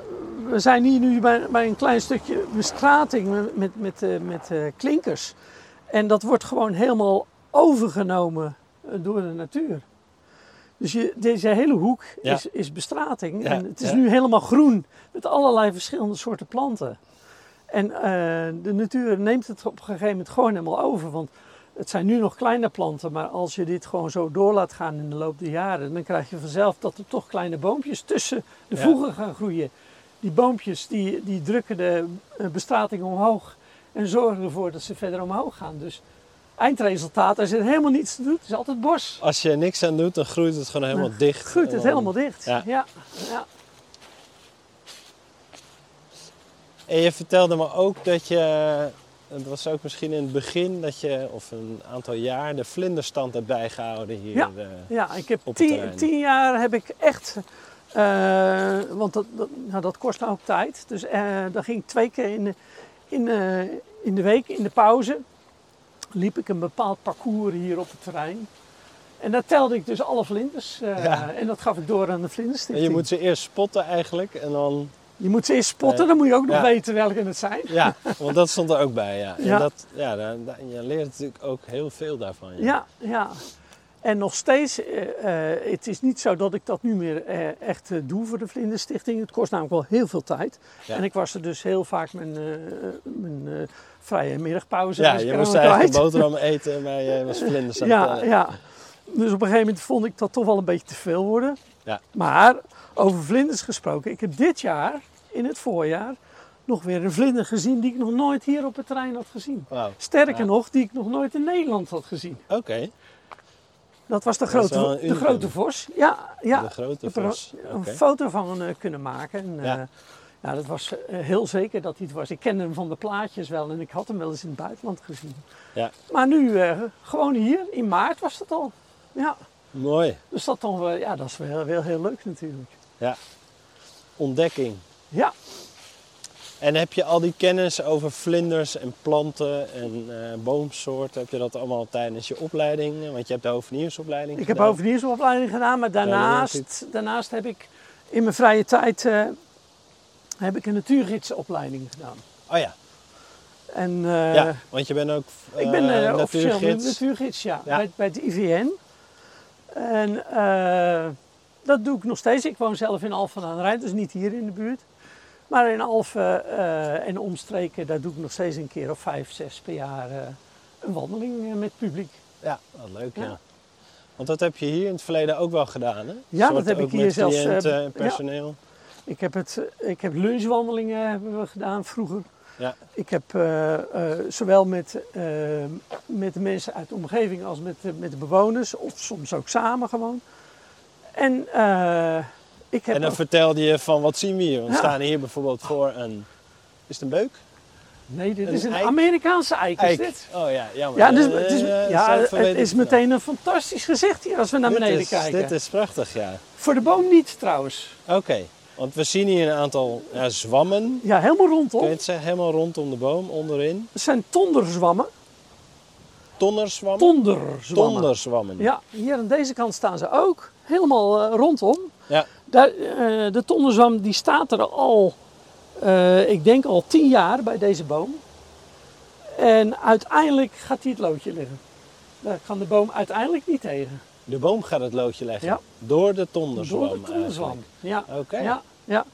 Speaker 1: we zijn hier nu bij, bij een klein stukje bestrating met, met, met, eh, met eh, klinkers. En dat wordt gewoon helemaal overgenomen eh, door de natuur. Dus je, deze hele hoek
Speaker 4: Ja.
Speaker 1: is, is bestrating.
Speaker 4: Ja,
Speaker 1: en het is
Speaker 4: ja.
Speaker 1: nu helemaal groen met allerlei verschillende soorten planten. En eh, de natuur neemt het op een gegeven moment gewoon helemaal over. Want het zijn nu nog kleine planten, maar als je dit gewoon zo door laat gaan in de loop der jaren, dan krijg je vanzelf dat er toch kleine boompjes tussen de
Speaker 4: Ja.
Speaker 1: voegen gaan groeien. Die boompjes die, die drukken de eh, bestrating omhoog en zorgen ervoor dat ze verder omhoog gaan. Dus eindresultaat, er zit helemaal niets te doen, het is altijd bos.
Speaker 4: Als je er niks aan doet, dan groeit het gewoon helemaal dicht.
Speaker 1: Groeit het
Speaker 4: En dan-
Speaker 1: helemaal dicht.
Speaker 4: Ja.
Speaker 1: Ja, ja.
Speaker 4: En je vertelde me ook dat je, het was ook misschien in het begin, dat je, of een aantal jaar, de vlinderstand hebt bijgehouden hier.
Speaker 1: Ja.
Speaker 4: eh.
Speaker 1: Ja, ik heb
Speaker 4: op het
Speaker 1: tien,
Speaker 4: terrein.
Speaker 1: tien jaar heb ik echt, eh, want dat, dat, nou, dat kost ook tijd. Dus eh dan ging ik twee keer in, de- in, eh, in de week, in de pauze, liep ik een bepaald parcours hier op het terrein. En daar telde ik dus alle vlinders. eh,
Speaker 4: Ja.
Speaker 1: En dat gaf ik door aan de
Speaker 4: En
Speaker 1: Vlinderstichting.
Speaker 4: je moet ze eerst spotten eigenlijk. En dan,
Speaker 1: je moet ze eerst spotten,
Speaker 4: Eh,
Speaker 1: dan moet je ook nog
Speaker 4: ja.
Speaker 1: weten welke het zijn.
Speaker 4: ja,
Speaker 1: [laughs]
Speaker 4: want dat stond er ook bij. Ja. En
Speaker 1: Ja.
Speaker 4: dat, ja, daar- daar- je leert natuurlijk ook heel veel daarvan. ja.
Speaker 1: Ja, ja. En nog steeds, eh, eh, het is niet zo dat ik dat nu meer eh, echt eh, doe voor de Vlinderstichting. Het kost namelijk wel heel veel tijd.
Speaker 4: Ja.
Speaker 1: En ik was er dus heel vaak mijn, eh, eh, mijn eh, vrije middagpauze.
Speaker 4: Ja,
Speaker 1: was ik
Speaker 4: je
Speaker 1: er
Speaker 4: moest
Speaker 1: aan
Speaker 4: eigenlijk
Speaker 1: kwijt.
Speaker 4: een boterham eten, maar je was eh. vlinders aan het
Speaker 1: Ja,
Speaker 4: tellen.
Speaker 1: ja. Dus op een gegeven moment vond ik dat toch wel een beetje te veel worden.
Speaker 4: Ja.
Speaker 1: Maar over vlinders gesproken, ik heb dit jaar, in het voorjaar, nog weer een vlinder gezien die ik nog nooit hier op het terrein had gezien.
Speaker 4: Wauw,
Speaker 1: Sterker
Speaker 4: Ja.
Speaker 1: nog, die ik nog nooit in Nederland had gezien.
Speaker 4: oké.
Speaker 1: Dat was de
Speaker 4: Dat is
Speaker 1: grote,
Speaker 4: wel een
Speaker 1: de
Speaker 4: unicum.
Speaker 1: grote vos. Ja, ja.
Speaker 4: De
Speaker 1: Ik
Speaker 4: grote
Speaker 1: heb er
Speaker 4: vos.
Speaker 1: een- een
Speaker 4: Oké.
Speaker 1: foto van eh, kunnen maken. En,
Speaker 4: Ja.
Speaker 1: ja. ja, dat was eh, heel zeker dat hij het was. Ik kende hem van de plaatjes wel en ik had hem wel eens in het buitenland gezien.
Speaker 4: Ja,
Speaker 1: Maar nu, eh, gewoon hier, in maart was dat al. Ja,
Speaker 4: mooi.
Speaker 1: dus dat, dan, wel- ja, dat is wel, wel heel leuk natuurlijk.
Speaker 4: Ja. Ontdekking.
Speaker 1: Ja,
Speaker 4: En heb je al die kennis over vlinders en planten en eh, boomsoorten, heb je dat allemaal tijdens je opleiding? eh, Want je hebt de hoveniersopleiding
Speaker 1: ik heb
Speaker 4: gedaan.
Speaker 1: overigens een opleiding gedaan, maar daarnaast, daarnaast heb ik in mijn vrije tijd eh, heb ik een natuurgidsopleiding gedaan.
Speaker 4: Oh ja,
Speaker 1: En, eh,
Speaker 4: ja want je bent ook eh
Speaker 1: Ik ben eh, officieel
Speaker 4: natuurgids.
Speaker 1: natuurgids, ja,
Speaker 4: Ja.
Speaker 1: Bij, bij het IVN. En eh, dat doe ik nog steeds. Ik woon zelf in Alphen aan de Rijn, dus niet hier in de buurt. Maar in Alphen eh, en omstreken, daar doe ik nog steeds een keer of vijf, zes per jaar eh, een wandeling eh, met publiek.
Speaker 4: Ja, wat leuk ja.
Speaker 1: Ja.
Speaker 4: Want dat heb je hier in het verleden ook wel gedaan hè?
Speaker 1: Ja, dat
Speaker 4: Soort
Speaker 1: heb ik
Speaker 4: ook
Speaker 1: hier
Speaker 4: met
Speaker 1: zelfs, eh,
Speaker 4: cliënten en
Speaker 1: ja.
Speaker 4: personeel.
Speaker 1: Ik heb, het, eh, ik heb lunchwandelingen hebben we gedaan vroeger.
Speaker 4: Ja.
Speaker 1: Ik heb eh, eh, zowel met, eh, met de mensen uit de omgeving als met, de- met de bewoners, of soms ook samen gewoon. En eh, ik heb
Speaker 4: En dan
Speaker 1: ook-
Speaker 4: vertelde je van wat zien we hier? Want we
Speaker 1: Ja.
Speaker 4: staan hier bijvoorbeeld voor een... Is het een beuk?
Speaker 1: Nee, dit
Speaker 4: Een
Speaker 1: is een
Speaker 4: eik?
Speaker 1: Amerikaanse eik, is dit.
Speaker 4: Oh ja, jammer.
Speaker 1: Ja, dus,
Speaker 4: Eh,
Speaker 1: het is,
Speaker 4: eh,
Speaker 1: ja,
Speaker 4: zelf weet
Speaker 1: het
Speaker 4: ik
Speaker 1: is
Speaker 4: nou.
Speaker 1: meteen een fantastisch gezicht hier als we naar
Speaker 4: Dit
Speaker 1: beneden
Speaker 4: is-
Speaker 1: kijken.
Speaker 4: Dit is prachtig, ja.
Speaker 1: Voor de boom niet trouwens.
Speaker 4: Oké, want we zien hier een aantal ja, zwammen.
Speaker 1: Ja, helemaal rondom.
Speaker 4: Kun je het zeggen? Helemaal rondom de boom, onderin.
Speaker 1: Het zijn tonderzwammen.
Speaker 4: Tonnerzwammen?
Speaker 1: Tonderzwammen.
Speaker 4: Tonderzwammen.
Speaker 1: Ja, hier aan deze kant staan ze ook. Helemaal eh, rondom.
Speaker 4: Ja,
Speaker 1: Daar, eh, de tonderzwam die staat er al, eh, ik denk al tien jaar bij deze boom. En uiteindelijk gaat hij het loodje liggen. Daar kan de boom uiteindelijk niet tegen.
Speaker 4: De boom gaat het loodje leggen.
Speaker 1: Ja.
Speaker 4: Door de
Speaker 1: Door
Speaker 4: tonderzwam.
Speaker 1: de tonderzwam.
Speaker 4: eigenlijk.
Speaker 1: Ja.
Speaker 4: Oké.
Speaker 1: ja, ja.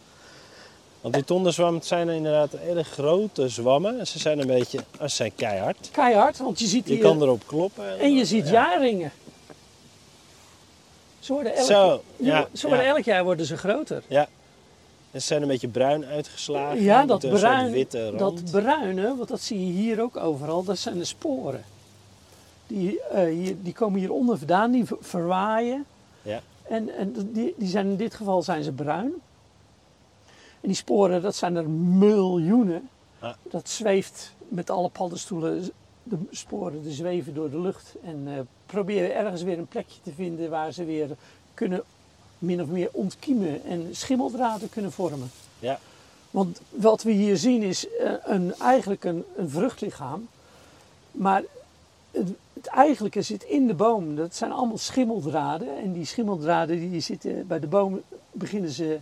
Speaker 4: Want die tonderzwammen het zijn inderdaad hele grote zwammen. En Ze zijn een beetje, oh, ze zijn keihard.
Speaker 1: Keihard, want je ziet
Speaker 4: Je
Speaker 1: hier...
Speaker 4: kan erop kloppen.
Speaker 1: eh, En je ziet
Speaker 4: ja.
Speaker 1: jaarringen. Ze worden elk,
Speaker 4: Zo, ja,
Speaker 1: ze worden
Speaker 4: ja.
Speaker 1: elk jaar worden ze groter.
Speaker 4: Ja. En ze zijn een beetje bruin uitgeslagen.
Speaker 1: Ja,
Speaker 4: met
Speaker 1: dat
Speaker 4: een soort
Speaker 1: bruin,
Speaker 4: witte rand.
Speaker 1: dat bruine, want dat zie je hier ook overal, dat zijn de sporen. Die, eh, hier, die komen hieronder vandaan, die ver- verwaaien.
Speaker 4: Ja.
Speaker 1: En, en die, die zijn in dit geval zijn ze bruin. En die sporen, dat zijn er miljoenen.
Speaker 4: Ja.
Speaker 1: Dat zweeft met alle paddenstoelen. De sporen die zweven door de lucht. En eh, proberen ergens weer een plekje te vinden waar ze weer kunnen min of meer ontkiemen. En schimmeldraden kunnen vormen.
Speaker 4: Ja.
Speaker 1: Want wat we hier zien is eh, een, eigenlijk een, een vruchtlichaam. Maar het, het eigenlijke zit in de boom. Dat zijn allemaal schimmeldraden. En die schimmeldraden die zitten bij de boom beginnen ze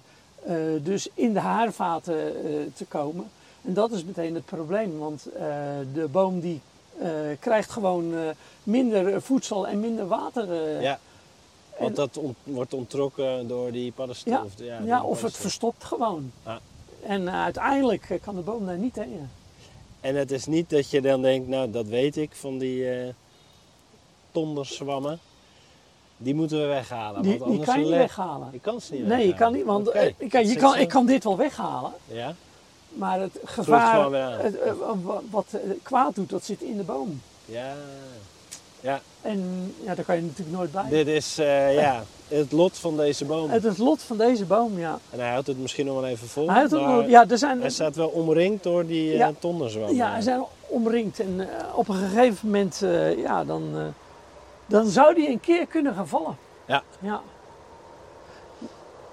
Speaker 1: eh, dus in de haarvaten eh, te komen. En dat is meteen het probleem. Want eh, de boom die eh, krijgt gewoon eh, minder eh, voedsel en minder water. eh.
Speaker 4: Ja. Want dat ont- wordt ontrokken door die paddenstoel.
Speaker 1: Ja,
Speaker 4: of, de-
Speaker 1: ja,
Speaker 4: die
Speaker 1: of het
Speaker 4: paddenstoel.
Speaker 1: verstopt gewoon.
Speaker 4: Ja.
Speaker 1: En eh, uiteindelijk eh, kan de boom daar niet tegen.
Speaker 4: En het is niet dat je dan denkt, nou dat weet ik van die eh tonderzwammen. Die moeten we weghalen.
Speaker 1: Die,
Speaker 4: Nou, want
Speaker 1: die
Speaker 4: anders
Speaker 1: kan je niet
Speaker 4: le-
Speaker 1: weghalen.
Speaker 4: Je kan ze niet
Speaker 1: Nee, je kan niet, want eh, ik- kijk, je kan, ik kan dit wel weghalen.
Speaker 4: Ja?
Speaker 1: Maar het
Speaker 4: gewoon
Speaker 1: gevaar,
Speaker 4: weer aan.
Speaker 1: het, eh, wa- wat eh, kwaad doet, dat zit in de boom.
Speaker 4: Ja. Ja,
Speaker 1: En ja, daar kan je natuurlijk nooit bij.
Speaker 4: dit is eh, ja, het lot van deze boom.
Speaker 1: Het is lot van deze boom, ja.
Speaker 4: En hij houdt het misschien nog wel even vol.
Speaker 1: Hij, heeft ook
Speaker 4: maar
Speaker 1: nog- ja, er zijn,
Speaker 4: hij staat wel omringd door die eh
Speaker 1: Ja.
Speaker 4: tonderzwammen.
Speaker 1: ja, hij zijn omringd. En eh, op een gegeven moment, eh, ja, dan, eh, dan zou die een keer kunnen gaan vallen.
Speaker 4: Ja.
Speaker 1: ja.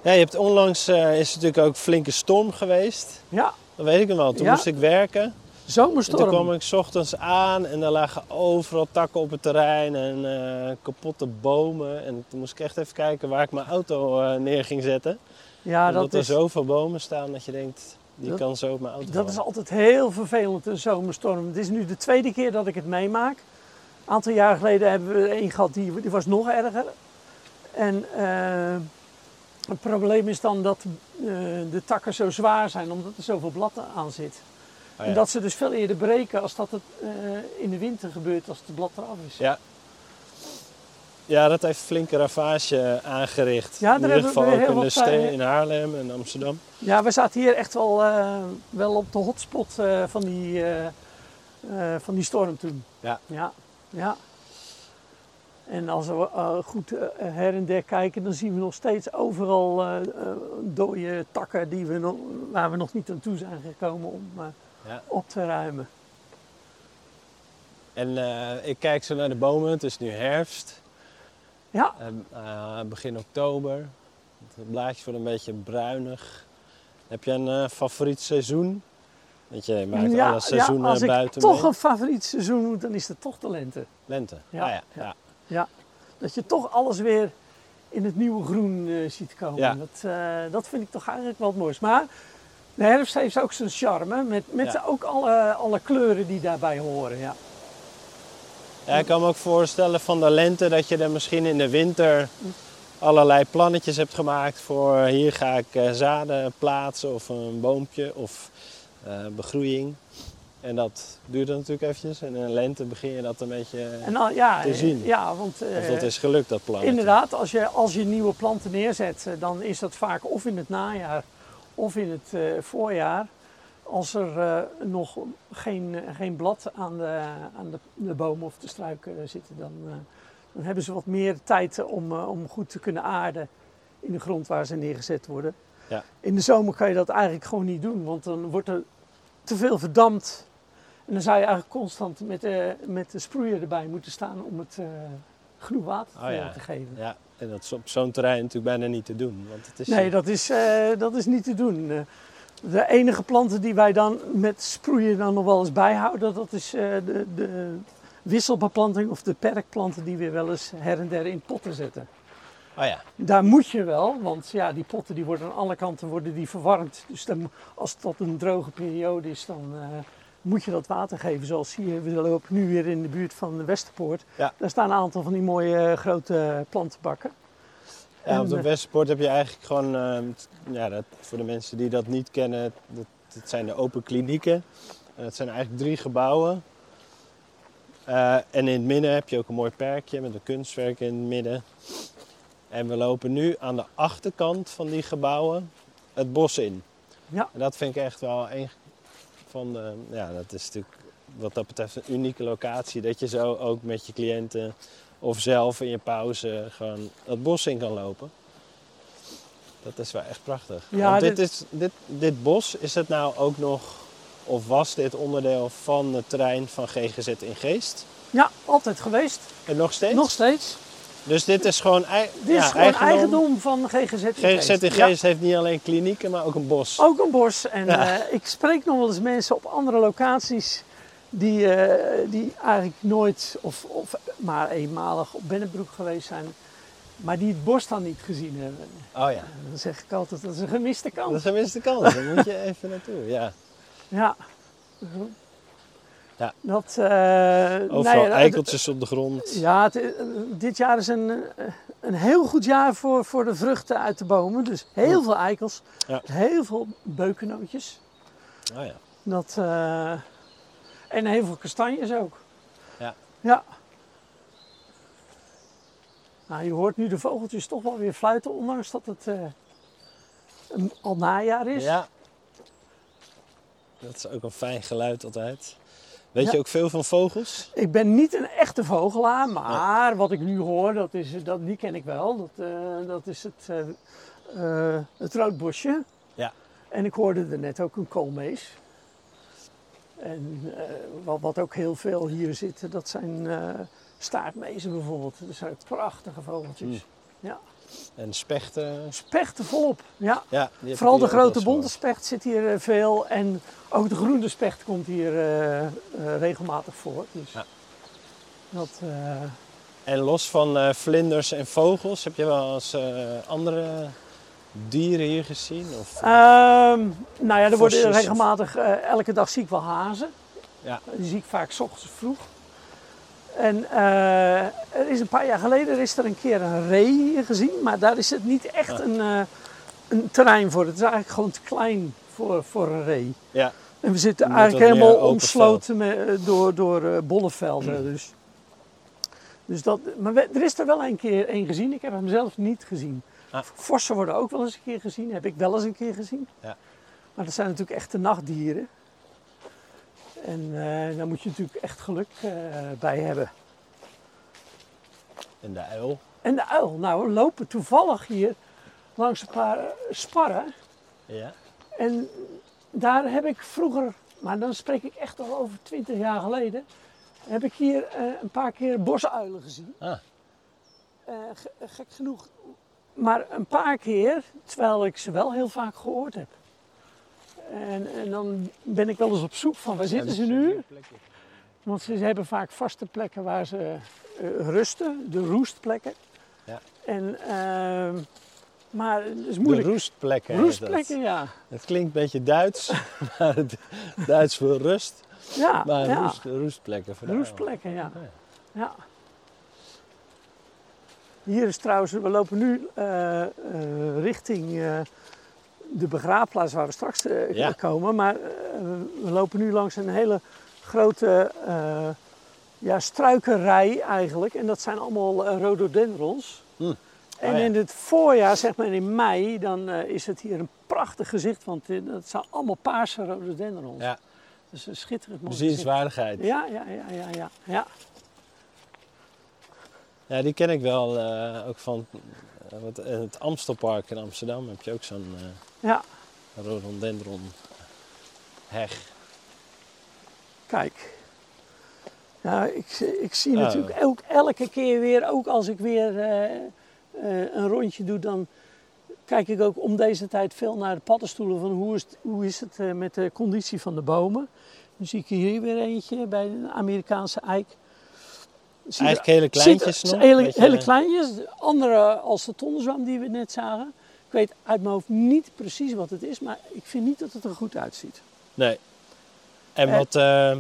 Speaker 4: Ja, je hebt onlangs, eh, is natuurlijk ook flinke storm geweest.
Speaker 1: Ja,
Speaker 4: Dat weet ik hem wel. Toen
Speaker 1: Ja.
Speaker 4: moest ik werken. En
Speaker 1: zomerstorm.
Speaker 4: toen kwam ik 's ochtends aan en daar lagen overal takken op het terrein en eh, kapotte bomen. En toen moest ik echt even kijken waar ik mijn auto eh, neer ging zetten.
Speaker 1: Ja,
Speaker 4: Omdat
Speaker 1: dat
Speaker 4: er
Speaker 1: is,
Speaker 4: zoveel bomen staan dat je denkt, die
Speaker 1: Dat-
Speaker 4: kan zo op mijn auto
Speaker 1: dat is
Speaker 4: vallen.
Speaker 1: altijd heel vervelend, een zomerstorm. Het is nu de tweede keer dat ik het meemaak. Een aantal jaar geleden hebben we er één gehad, die, die was nog erger. En eh, het probleem is dan dat eh, de takken zo zwaar zijn, omdat er zoveel blad aan zit.
Speaker 4: Oh ja.
Speaker 1: En dat ze dus veel eerder breken als dat het eh, in de winter gebeurt als het blad eraf is.
Speaker 4: ja. Ja, dat heeft flinke ravage aangericht.
Speaker 1: Ja, daar
Speaker 4: in ieder
Speaker 1: hebben
Speaker 4: geval
Speaker 1: we
Speaker 4: ook
Speaker 1: heel
Speaker 4: in de
Speaker 1: wat, eh,
Speaker 4: steden in Haarlem en Amsterdam.
Speaker 1: Ja, we zaten hier echt wel, eh, wel op de hotspot eh, van, die, eh, eh, van die storm toen.
Speaker 4: Ja.
Speaker 1: Ja, ja. En als we eh, goed eh, her en der kijken, dan zien we nog steeds overal eh, eh, dode takken die we nog, waar we nog niet aan toe zijn gekomen om eh,
Speaker 4: Ja.
Speaker 1: op te ruimen.
Speaker 4: En eh, ik kijk zo naar de bomen. Het is nu herfst,
Speaker 1: Ja,
Speaker 4: eh, eh, begin oktober. De blaadjes worden een beetje bruinig. Heb je een eh, favoriet seizoen? Want je maakt
Speaker 1: ja,
Speaker 4: alle
Speaker 1: ja,
Speaker 4: seizoenen
Speaker 1: als ik
Speaker 4: buiten
Speaker 1: toch
Speaker 4: mee.
Speaker 1: een favoriet seizoen moet, dan is het toch de lente.
Speaker 4: Lente.
Speaker 1: Ja,
Speaker 4: Ah, ja,
Speaker 1: ja.
Speaker 4: ja.
Speaker 1: Ja, dat je toch alles weer in het nieuwe groen eh, ziet komen.
Speaker 4: Ja.
Speaker 1: Dat, eh, dat vind ik toch eigenlijk wel het mooiste. Maar de herfst heeft ook zijn charme, met, met
Speaker 4: Ja.
Speaker 1: ook alle, alle kleuren die daarbij horen. Ja.
Speaker 4: Ja, ik kan me ook voorstellen van de lente dat je er misschien in de winter allerlei plannetjes hebt gemaakt voor eh, hier ga ik eh, zaden plaatsen of een boompje of eh, begroeiing. En dat duurt dan natuurlijk eventjes. En in de lente begin je dat een beetje,
Speaker 1: En dan, ja,
Speaker 4: Te zien.
Speaker 1: Ja, want eh,
Speaker 4: of dat is gelukt dat plannetje.
Speaker 1: inderdaad, als je, als je nieuwe planten neerzet, eh, dan is dat vaak of in het najaar of in het eh, voorjaar. Als er eh, nog geen, geen blad aan de, aan de, de bomen of de struiken zitten, dan, eh, dan hebben ze wat meer tijd eh, om, eh, om goed te kunnen aarden in de grond waar ze neergezet worden.
Speaker 4: Ja.
Speaker 1: In de zomer kan je dat eigenlijk gewoon niet doen, want dan wordt er te veel verdampt. En dan zou je eigenlijk constant met, eh, met de sproeier erbij moeten staan om het eh, genoeg water
Speaker 4: Oh ja.
Speaker 1: te geven.
Speaker 4: Ja, en dat is op zo'n terrein natuurlijk bijna niet te doen. Want het is
Speaker 1: Nee, dat is, eh, dat is niet te doen. Eh, De enige planten die wij dan met sproeien dan nog wel eens bijhouden, dat is eh, de, de wisselbeplanting of de perkplanten die we wel eens her en der in potten zetten.
Speaker 4: Oh ja,
Speaker 1: Daar moet je wel, want ja, die potten die worden aan alle kanten worden die verwarmd. Dus dan, als het tot een droge periode is, dan eh, moet je dat water geven. Zoals hier, we lopen nu weer in de buurt van de Westerpoort.
Speaker 4: Ja.
Speaker 1: Daar staan een aantal van die mooie eh, grote plantenbakken.
Speaker 4: ja op
Speaker 1: En,
Speaker 4: de
Speaker 1: eh,
Speaker 4: Westpoort heb je eigenlijk gewoon, eh, ja, dat, voor de mensen die dat niet kennen, dat, dat zijn de open klinieken. En dat zijn eigenlijk drie gebouwen. Eh, en in het midden heb je ook een mooi perkje met een kunstwerk in het midden. En we lopen nu aan de achterkant van die gebouwen het bos in.
Speaker 1: Ja.
Speaker 4: En dat vind ik echt wel een van de, ja, dat is natuurlijk wat dat betreft een unieke locatie. Dat je zo ook met je cliënten of zelf in je pauze gewoon het bos in kan lopen. Dat is wel echt prachtig.
Speaker 1: Ja,
Speaker 4: Want dit,
Speaker 1: dit-
Speaker 4: Is, dit, dit bos, is het nou ook nog, of was dit onderdeel van het terrein van GGZ in Geest?
Speaker 1: Ja, altijd geweest.
Speaker 4: En nog steeds?
Speaker 1: Nog steeds.
Speaker 4: Dus dit is gewoon, ei-
Speaker 1: Dit is
Speaker 4: ja,
Speaker 1: gewoon eigendom, van GGZ in
Speaker 4: GGZ in
Speaker 1: Geest.
Speaker 4: Geest heeft niet alleen klinieken, maar ook een bos.
Speaker 1: Ja, ook een bos. En
Speaker 4: Ja.
Speaker 1: eh, ik spreek nog wel eens mensen op andere locaties die, eh, die eigenlijk nooit of, of maar eenmalig op Bennebroek geweest zijn. Maar die het bos dan niet gezien hebben.
Speaker 4: Oh ja,
Speaker 1: En dan zeg ik altijd, dat is een gemiste
Speaker 4: dat is
Speaker 1: kans.
Speaker 4: de minste kans. Daar moet
Speaker 1: [laughs]
Speaker 4: je even naartoe, ja.
Speaker 1: Ja.
Speaker 4: Ja.
Speaker 1: Dat, eh,
Speaker 4: Overal
Speaker 1: nou ja, dat-
Speaker 4: eikeltjes op de grond.
Speaker 1: Ja, het, eh, dit jaar is een, eh, een heel goed jaar voor, voor de vruchten uit de bomen. Dus heel veel eikels,
Speaker 4: Ja.
Speaker 1: heel veel beukennootjes.
Speaker 4: Oh ja.
Speaker 1: Dat, eh, en heel veel kastanjes ook.
Speaker 4: Ja.
Speaker 1: Ja. Nou, je hoort nu de vogeltjes toch wel weer fluiten, ondanks dat het eh, een- al najaar is.
Speaker 4: ja. Dat is ook een fijn geluid altijd. Weet
Speaker 1: Ja.
Speaker 4: je ook veel van vogels?
Speaker 1: Ik ben niet een echte vogelaar, maar wat ik nu hoor, dat is, dat, die ken ik wel. Dat, eh, dat is het, eh, eh, het roodbosje.
Speaker 4: Ja.
Speaker 1: En ik hoorde er net ook een koolmees. En eh, wat, wat ook heel veel hier zitten, dat zijn eh, staartmezen bijvoorbeeld. Dat zijn prachtige vogeltjes.
Speaker 4: Mm.
Speaker 1: Ja.
Speaker 4: En spechten?
Speaker 1: Spechten volop, ja.
Speaker 4: Ja, die heb ik
Speaker 1: Vooral de
Speaker 4: hier ook wel eens
Speaker 1: grote bonte specht zit hier eh, veel. En ook de groene specht komt hier eh, eh, regelmatig voor. Dus
Speaker 4: Ja.
Speaker 1: dat... eh,
Speaker 4: gehoord. En los van eh, vlinders en vogels, heb je wel eens eh, andere dieren hier gezien? Of,
Speaker 1: Ehm, nou ja, er worden
Speaker 4: Vosjes of-
Speaker 1: regelmatig, eh, elke dag zie ik wel hazen.
Speaker 4: Ja.
Speaker 1: Die zie ik vaak 's ochtends vroeg. En eh, er is een paar jaar geleden is er een keer een ree gezien, maar daar is het niet echt
Speaker 4: Ah.
Speaker 1: een, eh, een terrein voor. Het is eigenlijk gewoon te klein voor, voor een ree.
Speaker 4: Ja,
Speaker 1: En we zitten
Speaker 4: Met
Speaker 1: eigenlijk
Speaker 4: wat meer
Speaker 1: helemaal
Speaker 4: open Hmm.
Speaker 1: omsloten met, eh, door, door eh, bollevelden. Dus. Dus dat, maar we- er is er wel een keer één gezien. Ik heb hem zelf niet gezien.
Speaker 4: Ah.
Speaker 1: Vossen worden ook wel eens een keer gezien. Heb ik wel eens een keer gezien.
Speaker 4: Ja.
Speaker 1: Maar dat zijn natuurlijk echte nachtdieren. En eh, daar moet je natuurlijk echt geluk eh, bij hebben.
Speaker 4: en de uil.
Speaker 1: En de uil. Nou, we lopen toevallig hier langs een paar eh, sparren.
Speaker 4: Ja.
Speaker 1: En daar heb ik vroeger, maar dan spreek ik echt al over 20 jaar geleden, heb ik hier eh, een paar keer bosuilen gezien.
Speaker 4: Ah,
Speaker 1: Eh, ge- gek genoeg. Maar een paar keer, terwijl ik ze wel heel vaak gehoord heb. En, en dan ben ik wel eens op zoek van waar zitten ze nu? Want ze hebben vaak vaste plekken waar ze eh, rusten, de roestplekken.
Speaker 4: Ja.
Speaker 1: En, ehm, maar het is
Speaker 4: De
Speaker 1: moeilijk.
Speaker 4: roestplekken. heet
Speaker 1: roestplekken, ja.
Speaker 4: Dat. Het klinkt een beetje Duits, [laughs] maar het, Duits voor rust.
Speaker 1: ja.
Speaker 4: Maar
Speaker 1: ja.
Speaker 4: roest, roestplekken voor de uil.
Speaker 1: Roestplekken, ja.
Speaker 4: Ja.
Speaker 1: ja. Hier is trouwens, we lopen nu eh, eh, richting eh, de begraafplaats waar we straks eh,
Speaker 4: Ja.
Speaker 1: komen. Maar eh, we lopen nu langs een hele grote eh, ja, struikenrij eigenlijk. En dat zijn allemaal eh, rhododendrons.
Speaker 4: Hm.
Speaker 1: En
Speaker 4: ja.
Speaker 1: in het voorjaar, zeg maar in mei, dan eh, is het hier een prachtig gezicht. Want eh, dat zijn allemaal paarse rhododendrons.
Speaker 4: Ja,
Speaker 1: Dus een schitterend mooi gezicht.
Speaker 4: bezienswaardigheid. Ja.
Speaker 1: Ja, ja, ja, ja, ja. ja.
Speaker 4: die ken ik wel eh, ook van eh, wat, eh, het Amstelpark in Amsterdam. Heb je ook zo'n eh
Speaker 1: ja.
Speaker 4: rhododendron heg.
Speaker 1: Kijk. Ja, ik, ik zie
Speaker 4: Ah.
Speaker 1: natuurlijk ook elke keer weer, ook als ik weer eh, eh, een rondje doe, dan kijk ik ook om deze tijd veel naar de paddenstoelen. Van hoe is het, hoe is het eh, met de conditie van de bomen? Dan zie ik hier weer eentje bij een Amerikaanse eik. Zie je-
Speaker 4: Eigenlijk hele kleintjes
Speaker 1: Zit-
Speaker 4: nog.
Speaker 1: Hele,
Speaker 4: beetje- eh,
Speaker 1: hele kleintjes. De Andere als de tonnenzwam die we net zagen. Ik weet uit mijn hoofd niet precies wat het is, maar ik vind niet dat het er goed uitziet.
Speaker 4: Nee. En
Speaker 1: Eh.
Speaker 4: wat eh,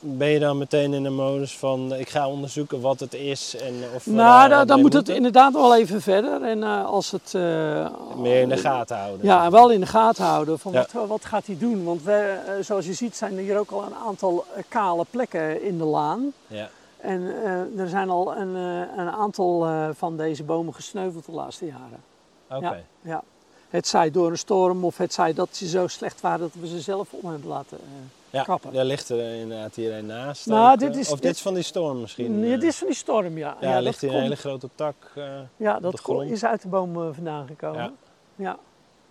Speaker 4: ben je dan meteen in de modus van ik ga onderzoeken wat het is en of we daar
Speaker 1: nou, dan,
Speaker 4: wat
Speaker 1: dan
Speaker 4: mee
Speaker 1: moet het
Speaker 4: moeten?
Speaker 1: inderdaad wel even verder. En eh, als het... eh,
Speaker 4: meer in de gaten houden.
Speaker 1: Ja, en wel in de gaten houden. Van
Speaker 4: Ja.
Speaker 1: wat, wat gaat hij doen? Want we, eh, zoals je ziet zijn er hier ook al een aantal eh, kale plekken in de laan.
Speaker 4: Ja.
Speaker 1: En eh, er zijn al een, eh, een aantal eh, van deze bomen gesneuveld de laatste jaren.
Speaker 4: Oké.
Speaker 1: Ja. Het zij door een storm of het zij dat ze zo slecht waren dat we ze zelf om hebben laten. eh.
Speaker 4: Ja,
Speaker 1: Kappen.
Speaker 4: daar ligt er inderdaad hier een naast.
Speaker 1: Nou,
Speaker 4: ook,
Speaker 1: dit
Speaker 4: eh.
Speaker 1: is-
Speaker 4: of dit,
Speaker 1: dit-
Speaker 4: is van die storm misschien.
Speaker 1: Nee,
Speaker 4: eh.
Speaker 1: het is van die storm, ja.
Speaker 4: Ja,
Speaker 1: dat
Speaker 4: ligt hier een
Speaker 1: komt-
Speaker 4: hele grote tak. eh,
Speaker 1: Ja,
Speaker 4: op
Speaker 1: dat
Speaker 4: de
Speaker 1: ko-
Speaker 4: grond.
Speaker 1: is uit de boom eh, vandaan gekomen.
Speaker 4: Ja.
Speaker 1: Ja.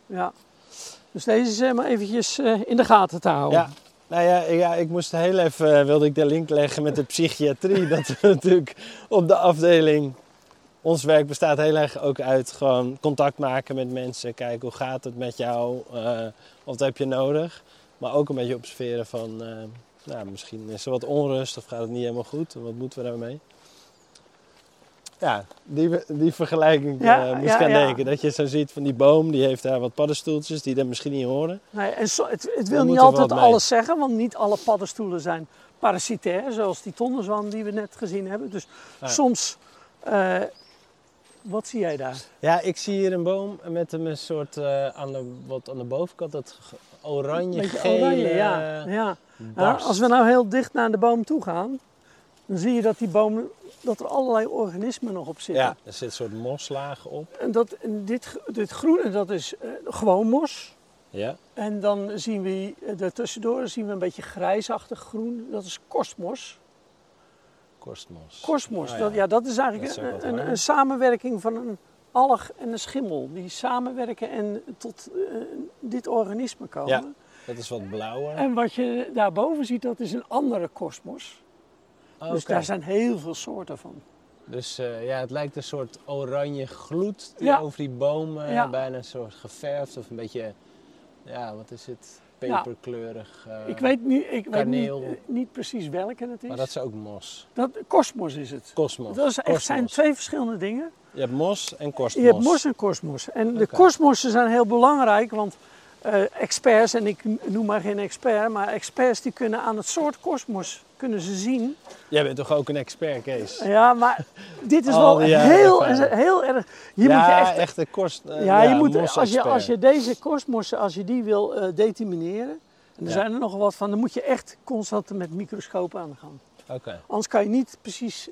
Speaker 1: ja. Dus deze is eh, maar eventjes eh, in de gaten te houden.
Speaker 4: Ja, nou ja, ja, ik moest heel even, eh, wilde ik de link leggen met de psychiatrie. [laughs] dat we natuurlijk op de afdeling, ons werk bestaat heel erg ook uit gewoon contact maken met mensen. Kijken hoe gaat het met jou, eh, wat heb je nodig. Maar ook een beetje observeren van, eh, nou misschien is er wat onrust of gaat het niet helemaal goed. Wat moeten we daarmee? Ja, die, die vergelijking eh
Speaker 1: Ja,
Speaker 4: moest
Speaker 1: ja,
Speaker 4: ik aan
Speaker 1: ja.
Speaker 4: denken. Dat je zo ziet van die boom, die heeft daar wat paddenstoeltjes die dat misschien niet horen.
Speaker 1: Nee, en zo- het, het
Speaker 4: We
Speaker 1: wil niet
Speaker 4: moeten
Speaker 1: altijd
Speaker 4: wat mee.
Speaker 1: alles zeggen, want niet alle paddenstoelen zijn parasitair, zoals die tonnenzwam die we net gezien hebben. Dus
Speaker 4: Ja.
Speaker 1: soms, eh, wat zie jij daar?
Speaker 4: Ja, ik zie hier een boom met een soort eh, aan de, wat aan de bovenkant dat ge- oranje
Speaker 1: Beetje
Speaker 4: gele
Speaker 1: oranje, ja. ja.
Speaker 4: eh,
Speaker 1: Ja,
Speaker 4: barst.
Speaker 1: als we nou heel dicht naar de boom toe gaan, dan zie je dat die boom, dat er allerlei organismen nog op zitten.
Speaker 4: Ja, er zit een soort moslaag op.
Speaker 1: En dat, en dit, gro- dit groene, dat is eh, gewoon mos.
Speaker 4: Ja,
Speaker 1: En dan zien we eh, daartussendoor zien we een beetje grijsachtig groen. Dat is kosmos.
Speaker 4: korstmos.
Speaker 1: Kosmos,
Speaker 4: Ah,
Speaker 1: dat, ja, dat is eigenlijk
Speaker 4: Dat is ook wat
Speaker 1: een, een,
Speaker 4: raar.
Speaker 1: een samenwerking van een alg en een schimmel. Die samenwerken en tot eh, dit organisme komen.
Speaker 4: Ja. Dat is wat blauwer.
Speaker 1: En wat je daarboven ziet, dat is een andere kosmos.
Speaker 4: Oké.
Speaker 1: Dus daar zijn heel veel soorten van.
Speaker 4: Dus, eh, ja, het lijkt een soort oranje gloed die
Speaker 1: Ja.
Speaker 4: over die bomen,
Speaker 1: Ja.
Speaker 4: bijna een soort geverfd of een beetje, ja, wat is het,
Speaker 1: Ja.
Speaker 4: peperkleurig. eh,
Speaker 1: ik weet, niet, ik weet niet,
Speaker 4: kaneel.
Speaker 1: eh, niet precies welke het is.
Speaker 4: Maar dat is ook mos.
Speaker 1: Dat, kosmos is het.
Speaker 4: Kosmos.
Speaker 1: Dat is echt,
Speaker 4: Kosmos.
Speaker 1: zijn twee verschillende dingen.
Speaker 4: Je hebt mos en korstmos.
Speaker 1: Je hebt mos en kosmos. En de
Speaker 4: Oké.
Speaker 1: kosmossen zijn heel belangrijk, want eh, experts, en ik noem maar geen expert, maar experts die kunnen aan het soort kosmos kunnen ze zien.
Speaker 4: Jij bent toch ook een expert, Kees?
Speaker 1: Ja,
Speaker 4: [laughs]
Speaker 1: maar dit is
Speaker 4: Al
Speaker 1: wel
Speaker 4: die jaren
Speaker 1: heel,
Speaker 4: ervaring.
Speaker 1: heel erg. Hier
Speaker 4: ja,
Speaker 1: moet je echt
Speaker 4: een korst. eh,
Speaker 1: Ja, je moet, als, je,
Speaker 4: mos-expert.
Speaker 1: als je deze korstmossen, als je die wil eh, determineren, en er
Speaker 4: Ja.
Speaker 1: zijn er nogal wat van, dan moet je echt constant met microscopen aan de gang.
Speaker 4: Oké.
Speaker 1: Anders kan je niet precies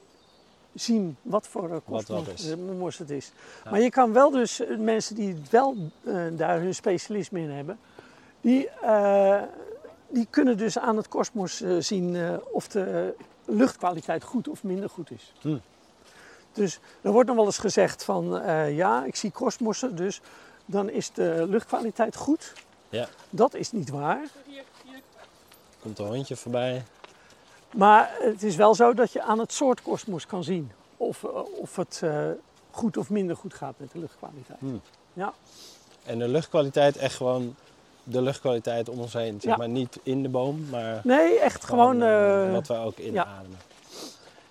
Speaker 1: zien wat voor eh,
Speaker 4: Wat wat
Speaker 1: korstmos
Speaker 4: is.
Speaker 1: eh, mos het is.
Speaker 4: Ja.
Speaker 1: Maar je kan wel dus, eh, mensen die wel eh, daar hun specialisme in hebben, die, eh, die kunnen dus aan het korstmos eh, zien eh, of de luchtkwaliteit goed of minder goed is.
Speaker 4: Hm.
Speaker 1: Dus er wordt nog wel eens gezegd van, eh, ja, ik zie korstmossen, dus dan is de luchtkwaliteit goed.
Speaker 4: Ja.
Speaker 1: Dat is niet waar.
Speaker 4: Komt een hondje voorbij.
Speaker 1: Maar het is wel zo dat je aan het soort kosmos kan zien of, eh, of het eh, goed of minder goed gaat met de luchtkwaliteit.
Speaker 4: Hmm.
Speaker 1: Ja,
Speaker 4: En de luchtkwaliteit echt gewoon de luchtkwaliteit om ons heen. Zeg
Speaker 1: Ja.
Speaker 4: maar niet in de boom, maar
Speaker 1: nee, echt gewoon.
Speaker 4: eh,
Speaker 1: eh,
Speaker 4: wat we ook inademen.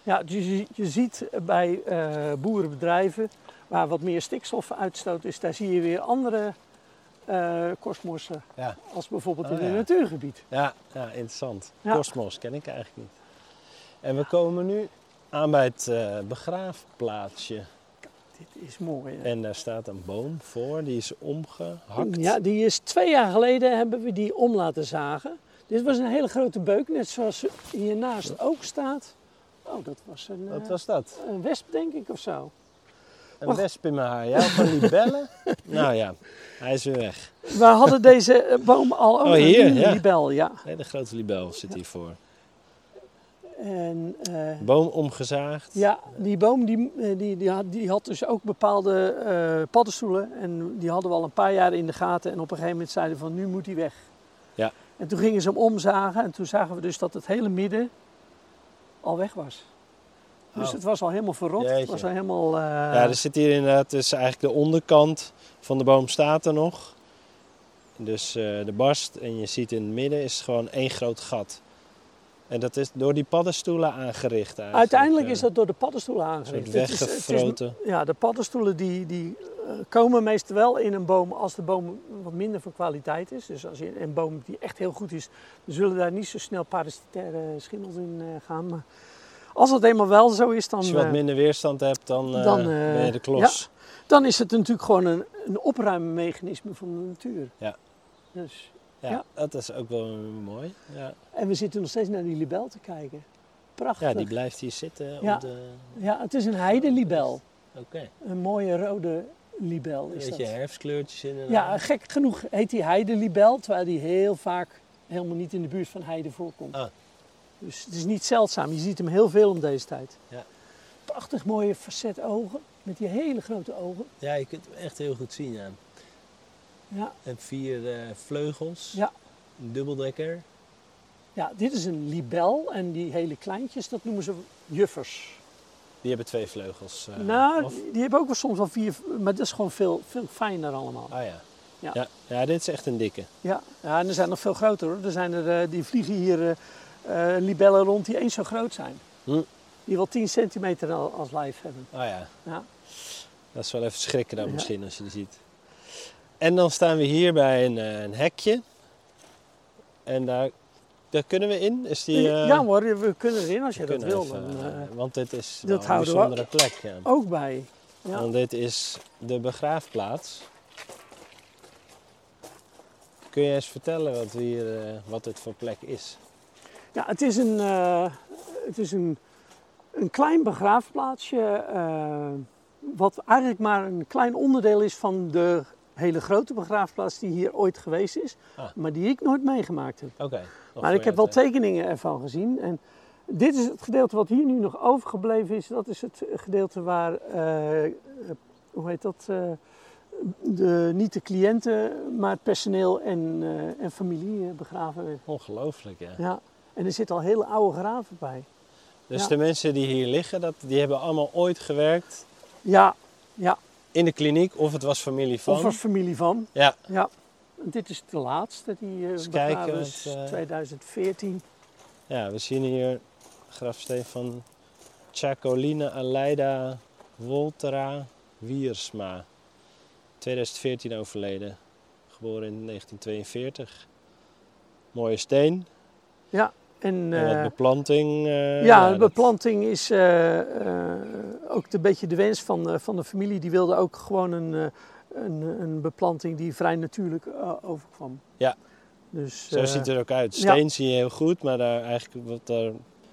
Speaker 1: ja, dus je, je ziet bij eh, boerenbedrijven waar wat meer stikstofuitstoot is, daar zie je weer andere eh kosmossen
Speaker 4: Ja.
Speaker 1: als bijvoorbeeld
Speaker 4: Oh,
Speaker 1: in
Speaker 4: ja.
Speaker 1: een natuurgebied.
Speaker 4: Ja, ja interessant.
Speaker 1: Ja.
Speaker 4: Kosmos ken ik eigenlijk niet. En we komen nu aan bij het eh, begraafplaatsje.
Speaker 1: Dit is mooi. hè?
Speaker 4: En daar staat een boom voor, die is omgehakt.
Speaker 1: Ja, die is twee jaar geleden hebben we die om laten zagen. Dit was een hele grote beuk, net zoals hiernaast ook staat. Oh, dat was een,
Speaker 4: Wat
Speaker 1: eh,
Speaker 4: was dat?
Speaker 1: een wesp, denk ik, of zo.
Speaker 4: Een
Speaker 1: Wacht.
Speaker 4: wesp in mijn haar. Ja, van die
Speaker 1: [laughs]
Speaker 4: bellen. nou ja, hij is weer weg.
Speaker 1: We hadden deze eh, boom al over
Speaker 4: Oh, hier,
Speaker 1: een
Speaker 4: ja.
Speaker 1: libel, ja.
Speaker 4: Nee, de grote libel zit hiervoor.
Speaker 1: En eh,
Speaker 4: Boom omgezaagd.
Speaker 1: ja, die boom die, eh, die, die, had, die had dus ook bepaalde eh, paddenstoelen. En die hadden we al een paar jaar in de gaten. En op een gegeven moment zeiden we van, nu moet die weg.
Speaker 4: Ja.
Speaker 1: En toen gingen ze hem omzagen. En toen zagen we dus dat het hele midden al weg was. Dus
Speaker 4: Oh.
Speaker 1: het was al helemaal verrot. Het
Speaker 4: Jeetje.
Speaker 1: was al helemaal... eh,
Speaker 4: Ja, er zit hier inderdaad, dus eigenlijk de onderkant van de boom staat er nog. Dus eh, de barst en je ziet in het midden is gewoon één groot gat. En dat is door die paddenstoelen aangericht eigenlijk.
Speaker 1: Uiteindelijk
Speaker 4: eh,
Speaker 1: is dat door de paddenstoelen
Speaker 4: een soort
Speaker 1: aangericht. Het is- het is-
Speaker 4: weggefroten.
Speaker 1: Ja, de paddenstoelen die, die eh, komen meestal wel in een boom als de boom wat minder van kwaliteit is. Dus als je een boom die echt heel goed is, dan zullen daar niet zo snel parasitaire schimmels in eh, gaan. Maar als dat eenmaal wel zo is, dan,
Speaker 4: Als je wat
Speaker 1: eh,
Speaker 4: minder weerstand hebt, dan, eh,
Speaker 1: dan, eh,
Speaker 4: ben je de klos.
Speaker 1: dan is het natuurlijk gewoon een, een opruimmechanisme van de natuur.
Speaker 4: Ja.
Speaker 1: Dus,
Speaker 4: Ja,
Speaker 1: ja.
Speaker 4: dat is ook wel mooi. Ja,
Speaker 1: en we zitten nog steeds naar die libel te kijken. Prachtig.
Speaker 4: ja die blijft hier zitten.
Speaker 1: Ja.
Speaker 4: Op de...
Speaker 1: Ja, het is een heidelibel.
Speaker 4: Oké.
Speaker 1: Een mooie rode libel
Speaker 4: Een
Speaker 1: is
Speaker 4: beetje
Speaker 1: dat.
Speaker 4: herfstkleurtjes in.
Speaker 1: Ja, gek genoeg heet die heidelibel, terwijl die heel vaak helemaal niet in de buurt van heide voorkomt.
Speaker 4: Ah.
Speaker 1: Dus het is niet zeldzaam. Je ziet hem heel veel om deze tijd.
Speaker 4: Ja.
Speaker 1: Prachtig mooie facet ogen, met die hele grote ogen.
Speaker 4: ja, je kunt hem echt heel goed zien. Ja.
Speaker 1: Ja,
Speaker 4: En vier eh, vleugels.
Speaker 1: Ja.
Speaker 4: Een dubbeldekker.
Speaker 1: ja dit is een libel en die hele kleintjes, dat noemen ze juffers.
Speaker 4: Die hebben twee vleugels. eh,
Speaker 1: nou,
Speaker 4: of-
Speaker 1: die hebben ook wel soms wel vier, maar dat is gewoon veel, veel fijner allemaal.
Speaker 4: Ah ja.
Speaker 1: Ja.
Speaker 4: Ja. Ja, dit is echt een dikke.
Speaker 1: Ja. ja, en er zijn nog veel groter hoor. Er zijn er, eh, die vliegen hier eh, eh, libellen rond die eens zo groot zijn.
Speaker 4: Hm.
Speaker 1: Die wel 10 centimeter al- als lijf hebben.
Speaker 4: Ah ja,
Speaker 1: Ja.
Speaker 4: dat is wel even schrikken dan
Speaker 1: Ja.
Speaker 4: misschien als je die ziet. En dan staan we hier bij een, eh, een hekje. En daar, daar kunnen we in. Is die, eh,
Speaker 1: ja hoor, we kunnen erin als je
Speaker 4: we
Speaker 1: dat
Speaker 4: kunnen
Speaker 1: wil.
Speaker 4: even,
Speaker 1: dan,
Speaker 4: eh,
Speaker 1: eh,
Speaker 4: want dit is
Speaker 1: dat
Speaker 4: wel een
Speaker 1: houden we ook.
Speaker 4: bijzondere plek. ja.
Speaker 1: ook bij. Ja.
Speaker 4: Want dit is de begraafplaats. Kun je eens vertellen wat, we hier, eh, wat dit voor plek is?
Speaker 1: Ja, het is een, eh, het is een, een klein begraafplaatsje, eh, wat eigenlijk maar een klein onderdeel is van de hele grote begraafplaats die hier ooit geweest is,
Speaker 4: Ah.
Speaker 1: maar die ik nooit meegemaakt heb.
Speaker 4: Oké. nog
Speaker 1: Maar
Speaker 4: voor
Speaker 1: ik heb wel
Speaker 4: jou te-
Speaker 1: tekeningen ervan gezien. En dit is het gedeelte wat hier nu nog overgebleven is. Dat is het gedeelte waar, eh, eh, hoe heet dat, eh, de, niet de cliënten, maar het personeel en, eh, en familie eh, begraven werden.
Speaker 4: Ongelooflijk, ja.
Speaker 1: Ja. En er zitten al hele oude graven bij.
Speaker 4: Dus
Speaker 1: Ja.
Speaker 4: de mensen die hier liggen, dat, die hebben allemaal ooit gewerkt
Speaker 1: Ja, ja.
Speaker 4: in de kliniek of het was familie van.
Speaker 1: Of was familie van.
Speaker 4: Ja,
Speaker 1: Ja. En dit is de laatste die eh
Speaker 4: Eens
Speaker 1: begraven
Speaker 4: kijken,
Speaker 1: is,
Speaker 4: want, eh,
Speaker 1: 2014.
Speaker 4: ja, we zien hier grafsteen van Chacolina Aleida Woltera Wiersma. 2014 overleden, geboren in 1942. Mooie steen.
Speaker 1: Ja. En,
Speaker 4: En wat
Speaker 1: eh,
Speaker 4: beplanting. eh,
Speaker 1: ja,
Speaker 4: dat-
Speaker 1: beplanting is eh, eh, ook een beetje de wens van, eh, van de familie. Die wilde ook gewoon een, eh, een, een beplanting die vrij natuurlijk eh, overkwam.
Speaker 4: Ja.
Speaker 1: Dus,
Speaker 4: Zo
Speaker 1: eh,
Speaker 4: ziet het er ook uit.
Speaker 1: ja.
Speaker 4: Steen zie je heel goed, maar daar, eigenlijk wat daar,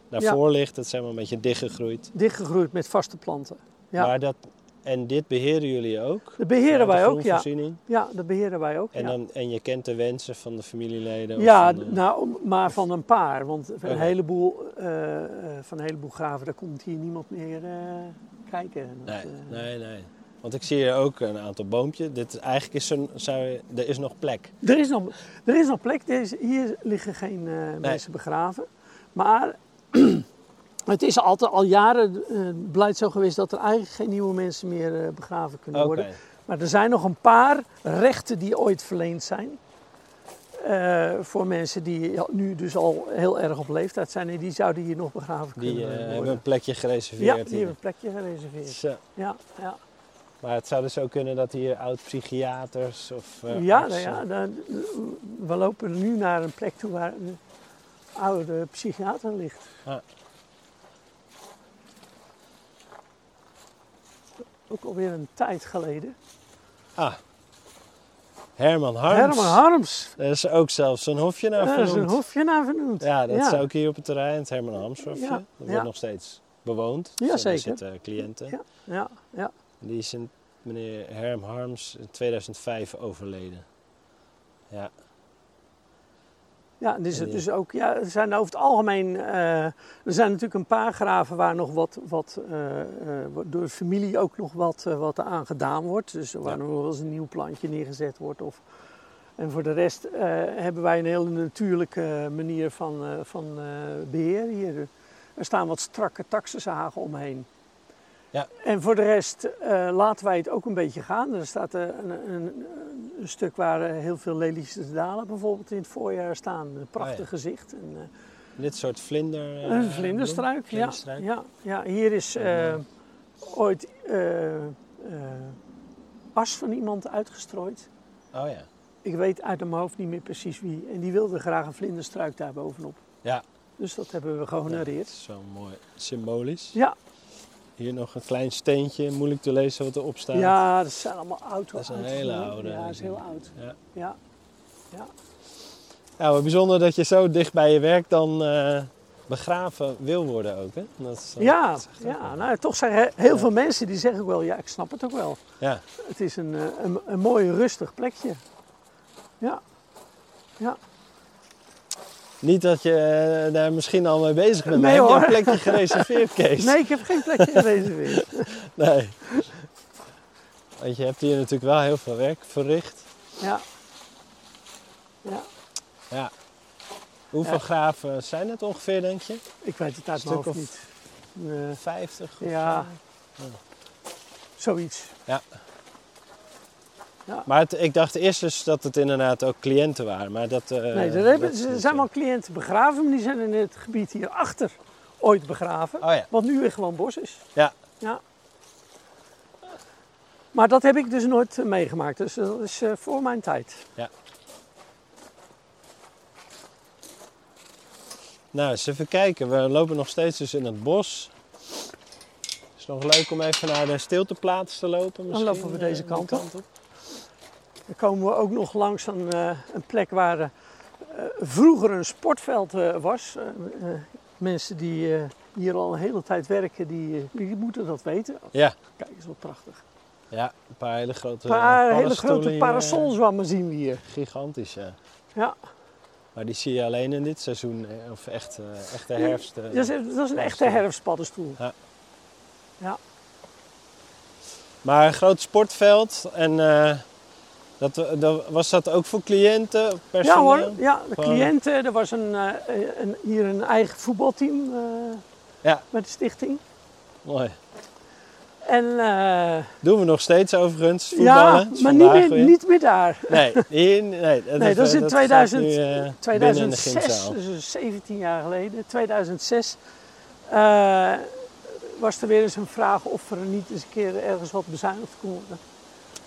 Speaker 4: daarvoor ligt, dat zijn wel een beetje dichtgegroeid.
Speaker 1: Dichtgegroeid met vaste planten. Ja.
Speaker 4: Maar dat, en dit beheren jullie ook?
Speaker 1: Dat beheren wij
Speaker 4: Vanuit de
Speaker 1: ook, ja.
Speaker 4: groenvoorziening?
Speaker 1: Ja, dat beheren wij ook.
Speaker 4: En,
Speaker 1: ja.
Speaker 4: dan, en je kent de wensen van de familieleden? of
Speaker 1: Ja,
Speaker 4: van eh, de-
Speaker 1: nou, maar van een paar. Want een
Speaker 4: Oké.
Speaker 1: heleboel, eh, eh, van een heleboel graven, daar komt hier niemand meer eh, kijken. Dat,
Speaker 4: Nee,
Speaker 1: eh,
Speaker 4: nee, nee. Want ik zie hier ook een aantal boompjes. Dit, is- eigenlijk is zo'n- zou je- er is nog plek.
Speaker 1: Er, is nog, er is nog plek. Er is- hier liggen geen eh, mensen begraven. Maar [clears throat] het is altijd al jaren eh beleid zo geweest dat er eigenlijk geen nieuwe mensen meer eh, begraven kunnen
Speaker 4: Oké.
Speaker 1: worden. Maar er zijn nog een paar rechten die ooit verleend zijn. eh, voor mensen die nu dus al heel erg op leeftijd zijn en die zouden hier nog begraven
Speaker 4: Die
Speaker 1: kunnen
Speaker 4: eh,
Speaker 1: worden.
Speaker 4: hebben een plekje gereserveerd.
Speaker 1: Ja, die
Speaker 4: hier.
Speaker 1: hebben een plekje gereserveerd.
Speaker 4: Zo.
Speaker 1: Ja, ja.
Speaker 4: Maar het zou dus ook kunnen dat hier oud-psychiaters of... eh,
Speaker 1: ja, nou
Speaker 4: artsen-
Speaker 1: ja dan, we lopen nu naar een plek toe waar een oude psychiater ligt.
Speaker 4: Ah.
Speaker 1: Ook alweer een tijd geleden.
Speaker 4: Ah, Herman Harms.
Speaker 1: Herman Harms.
Speaker 4: Er is ook zelfs een hofje naar
Speaker 1: Daar is een
Speaker 4: vernoemd.
Speaker 1: hofje naar vernoemd.
Speaker 4: Ja, dat is ook hier op het terrein, het Herman Harms hofje.
Speaker 1: Ja,
Speaker 4: Dat wordt
Speaker 1: ja.
Speaker 4: nog steeds bewoond.
Speaker 1: Ja,
Speaker 4: daar
Speaker 1: zeker.
Speaker 4: zitten cliënten.
Speaker 1: Ja. Ja, ja.
Speaker 4: Die is in, meneer Herm Harms in 2005 overleden. Ja,
Speaker 1: Ja, dus
Speaker 4: En
Speaker 1: het
Speaker 4: die-
Speaker 1: is ook, ja, er zijn over het algemeen, eh, er zijn natuurlijk een paar graven waar nog wat, wat eh, eh, wat door de familie ook nog wat, eh, wat aan gedaan wordt. Dus waar
Speaker 4: Ja.
Speaker 1: nog wel eens een nieuw plantje neergezet wordt. Of, en voor de rest eh, hebben wij een hele natuurlijke manier van, eh, van eh, beheer hier. Er staan wat strakke taxenzagen omheen.
Speaker 4: Ja.
Speaker 1: En voor de rest eh, laten wij het ook een beetje gaan. Er staat eh, een, een, een stuk waar eh, heel veel lelies te dalen bijvoorbeeld in het voorjaar staan. Een prachtig
Speaker 4: Oh ja.
Speaker 1: gezicht. En, eh,
Speaker 4: dit soort vlinder... eh,
Speaker 1: een vlinderstruik,
Speaker 4: bloem.
Speaker 1: ja.
Speaker 4: Vlinderstruik.
Speaker 1: ja. Ja, hier is eh,
Speaker 4: En,
Speaker 1: ooit eh, eh, as van iemand uitgestrooid.
Speaker 4: Oh ja.
Speaker 1: Ik weet uit mijn hoofd niet meer precies wie. En die wilde graag een vlinderstruik daar bovenop.
Speaker 4: Ja,
Speaker 1: Dus dat hebben we
Speaker 4: dat
Speaker 1: gehonoreerd.
Speaker 4: is zo mooi symbolisch.
Speaker 1: Ja,
Speaker 4: Hier nog een klein steentje, moeilijk te lezen wat erop staat.
Speaker 1: ja, dat zijn allemaal auto's.
Speaker 4: Dat is een hele oude,
Speaker 1: Ja, dat is heel
Speaker 4: denk ik.
Speaker 1: oud.
Speaker 4: Ja.
Speaker 1: Ja.
Speaker 4: Ja, wat bijzonder dat je zo dicht bij je werk dan eh, begraven wil worden ook, hè? Dat is, eh,
Speaker 1: Ja,
Speaker 4: dat is echt
Speaker 1: ja
Speaker 4: ook-
Speaker 1: nou, toch zeggen heel
Speaker 4: Ja.
Speaker 1: veel mensen die zeggen ook wel, ja, ik snap het ook wel.
Speaker 4: ja.
Speaker 1: Het is een, eh, een, een mooi rustig plekje. Ja, ja.
Speaker 4: Niet dat je eh, daar misschien al mee bezig bent, maar
Speaker 1: Nee,
Speaker 4: heb je
Speaker 1: hoor.
Speaker 4: een plekje gereserveerd, Kees?
Speaker 1: Nee, ik heb geen plekje gereserveerd.
Speaker 4: Nee. Want je hebt hier natuurlijk wel heel veel werk verricht.
Speaker 1: Ja. ja,
Speaker 4: Ja. Hoeveel
Speaker 1: Ja.
Speaker 4: graven zijn het ongeveer, denk je?
Speaker 1: ik weet het uit
Speaker 4: Stuk
Speaker 1: mijn hoofd
Speaker 4: of-
Speaker 1: niet. Eh,
Speaker 4: 50? of
Speaker 1: ja,
Speaker 4: zo?
Speaker 1: zoiets.
Speaker 4: Maar het- ik dacht eerst dus dat het inderdaad ook cliënten waren, maar dat... eh,
Speaker 1: Nee, er,
Speaker 4: dat
Speaker 1: hebben,
Speaker 4: is
Speaker 1: er
Speaker 4: niet
Speaker 1: zijn
Speaker 4: zo.
Speaker 1: wel cliënten begraven, maar die zijn in het gebied hierachter ooit begraven.
Speaker 4: Oh ja,
Speaker 1: Wat nu weer gewoon bos is.
Speaker 4: ja.
Speaker 1: Ja. Maar dat heb ik dus nooit eh, meegemaakt. Dus dat is eh, voor mijn tijd.
Speaker 4: Nou, eens even kijken. We lopen nog steeds dus in het bos. Het is nog leuk om even naar de stilteplaats te lopen. Misschien.
Speaker 1: lopen we deze
Speaker 4: eh,
Speaker 1: kant
Speaker 4: die
Speaker 1: op. Dan komen we ook nog langs een, eh, een plek waar eh, eh, vroeger een sportveld eh, was. Eh, eh, mensen die eh, hier al een hele tijd werken, die, eh, die moeten dat weten. Oh,
Speaker 4: Ja,
Speaker 1: Kijk, is wel prachtig.
Speaker 4: ja, een paar hele grote
Speaker 1: Een paar hele
Speaker 4: paddenstoelen
Speaker 1: grote
Speaker 4: hier, eh,
Speaker 1: parasolzwammen zien we hier.
Speaker 4: Gigantisch, ja.
Speaker 1: Ja,
Speaker 4: Maar die zie je alleen in dit seizoen, eh, of echt, eh, echte herfst. eh.
Speaker 1: dat is, dat is een echte herfstpaddenstoel.
Speaker 4: Maar een groot sportveld. En eh, dat, dat, was dat ook voor cliënten,
Speaker 1: Ja
Speaker 4: personeel?
Speaker 1: hoor, ja, de
Speaker 4: Gewoon-
Speaker 1: cliënten, er was een, eh, een, hier een eigen voetbalteam eh,
Speaker 4: Ja.
Speaker 1: met de stichting.
Speaker 4: Mooi.
Speaker 1: En eh,
Speaker 4: Doen we nog steeds overigens, voetballen.
Speaker 1: ja,
Speaker 4: Is
Speaker 1: maar niet
Speaker 4: vandaag
Speaker 1: meer,
Speaker 4: weer.
Speaker 1: niet meer daar.
Speaker 4: Nee, hier, nee, dat,
Speaker 1: Nee, dat is in
Speaker 4: gaat
Speaker 1: 2000
Speaker 4: nu, eh, binnen in de
Speaker 1: 2006,
Speaker 4: gymzaal.
Speaker 1: dus 17 jaar geleden, 2006, eh, was er weer eens een vraag of er niet eens een keer ergens wat bezuinigd kon worden.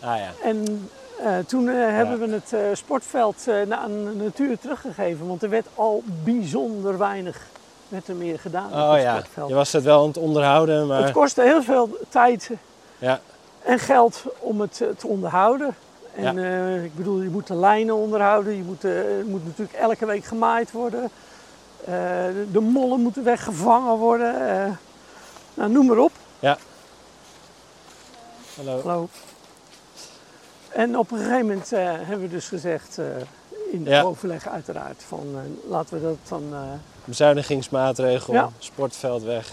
Speaker 4: Ah ja,
Speaker 1: En Eh, toen eh, hebben we het eh, sportveld eh, na- aan de natuur teruggegeven, want er werd al bijzonder weinig werd er meer gedaan op
Speaker 4: Oh
Speaker 1: het
Speaker 4: ja,
Speaker 1: sportveld.
Speaker 4: je was het wel aan het onderhouden, maar
Speaker 1: Het kostte heel veel tijd
Speaker 4: ja,
Speaker 1: en geld om het eh, te onderhouden. En
Speaker 4: Ja.
Speaker 1: eh, ik bedoel, je moet de lijnen onderhouden, je moet, eh, er moet natuurlijk elke week gemaaid worden. Eh, de, de mollen moeten weggevangen worden. eh, nou, noem maar op.
Speaker 4: hallo.
Speaker 1: Hallo. En op een gegeven moment eh, hebben we dus gezegd, eh, in
Speaker 4: Ja.
Speaker 1: overleg uiteraard, van eh, laten we dat dan. eh,
Speaker 4: Bezuinigingsmaatregel,
Speaker 1: Ja.
Speaker 4: sportveld weg.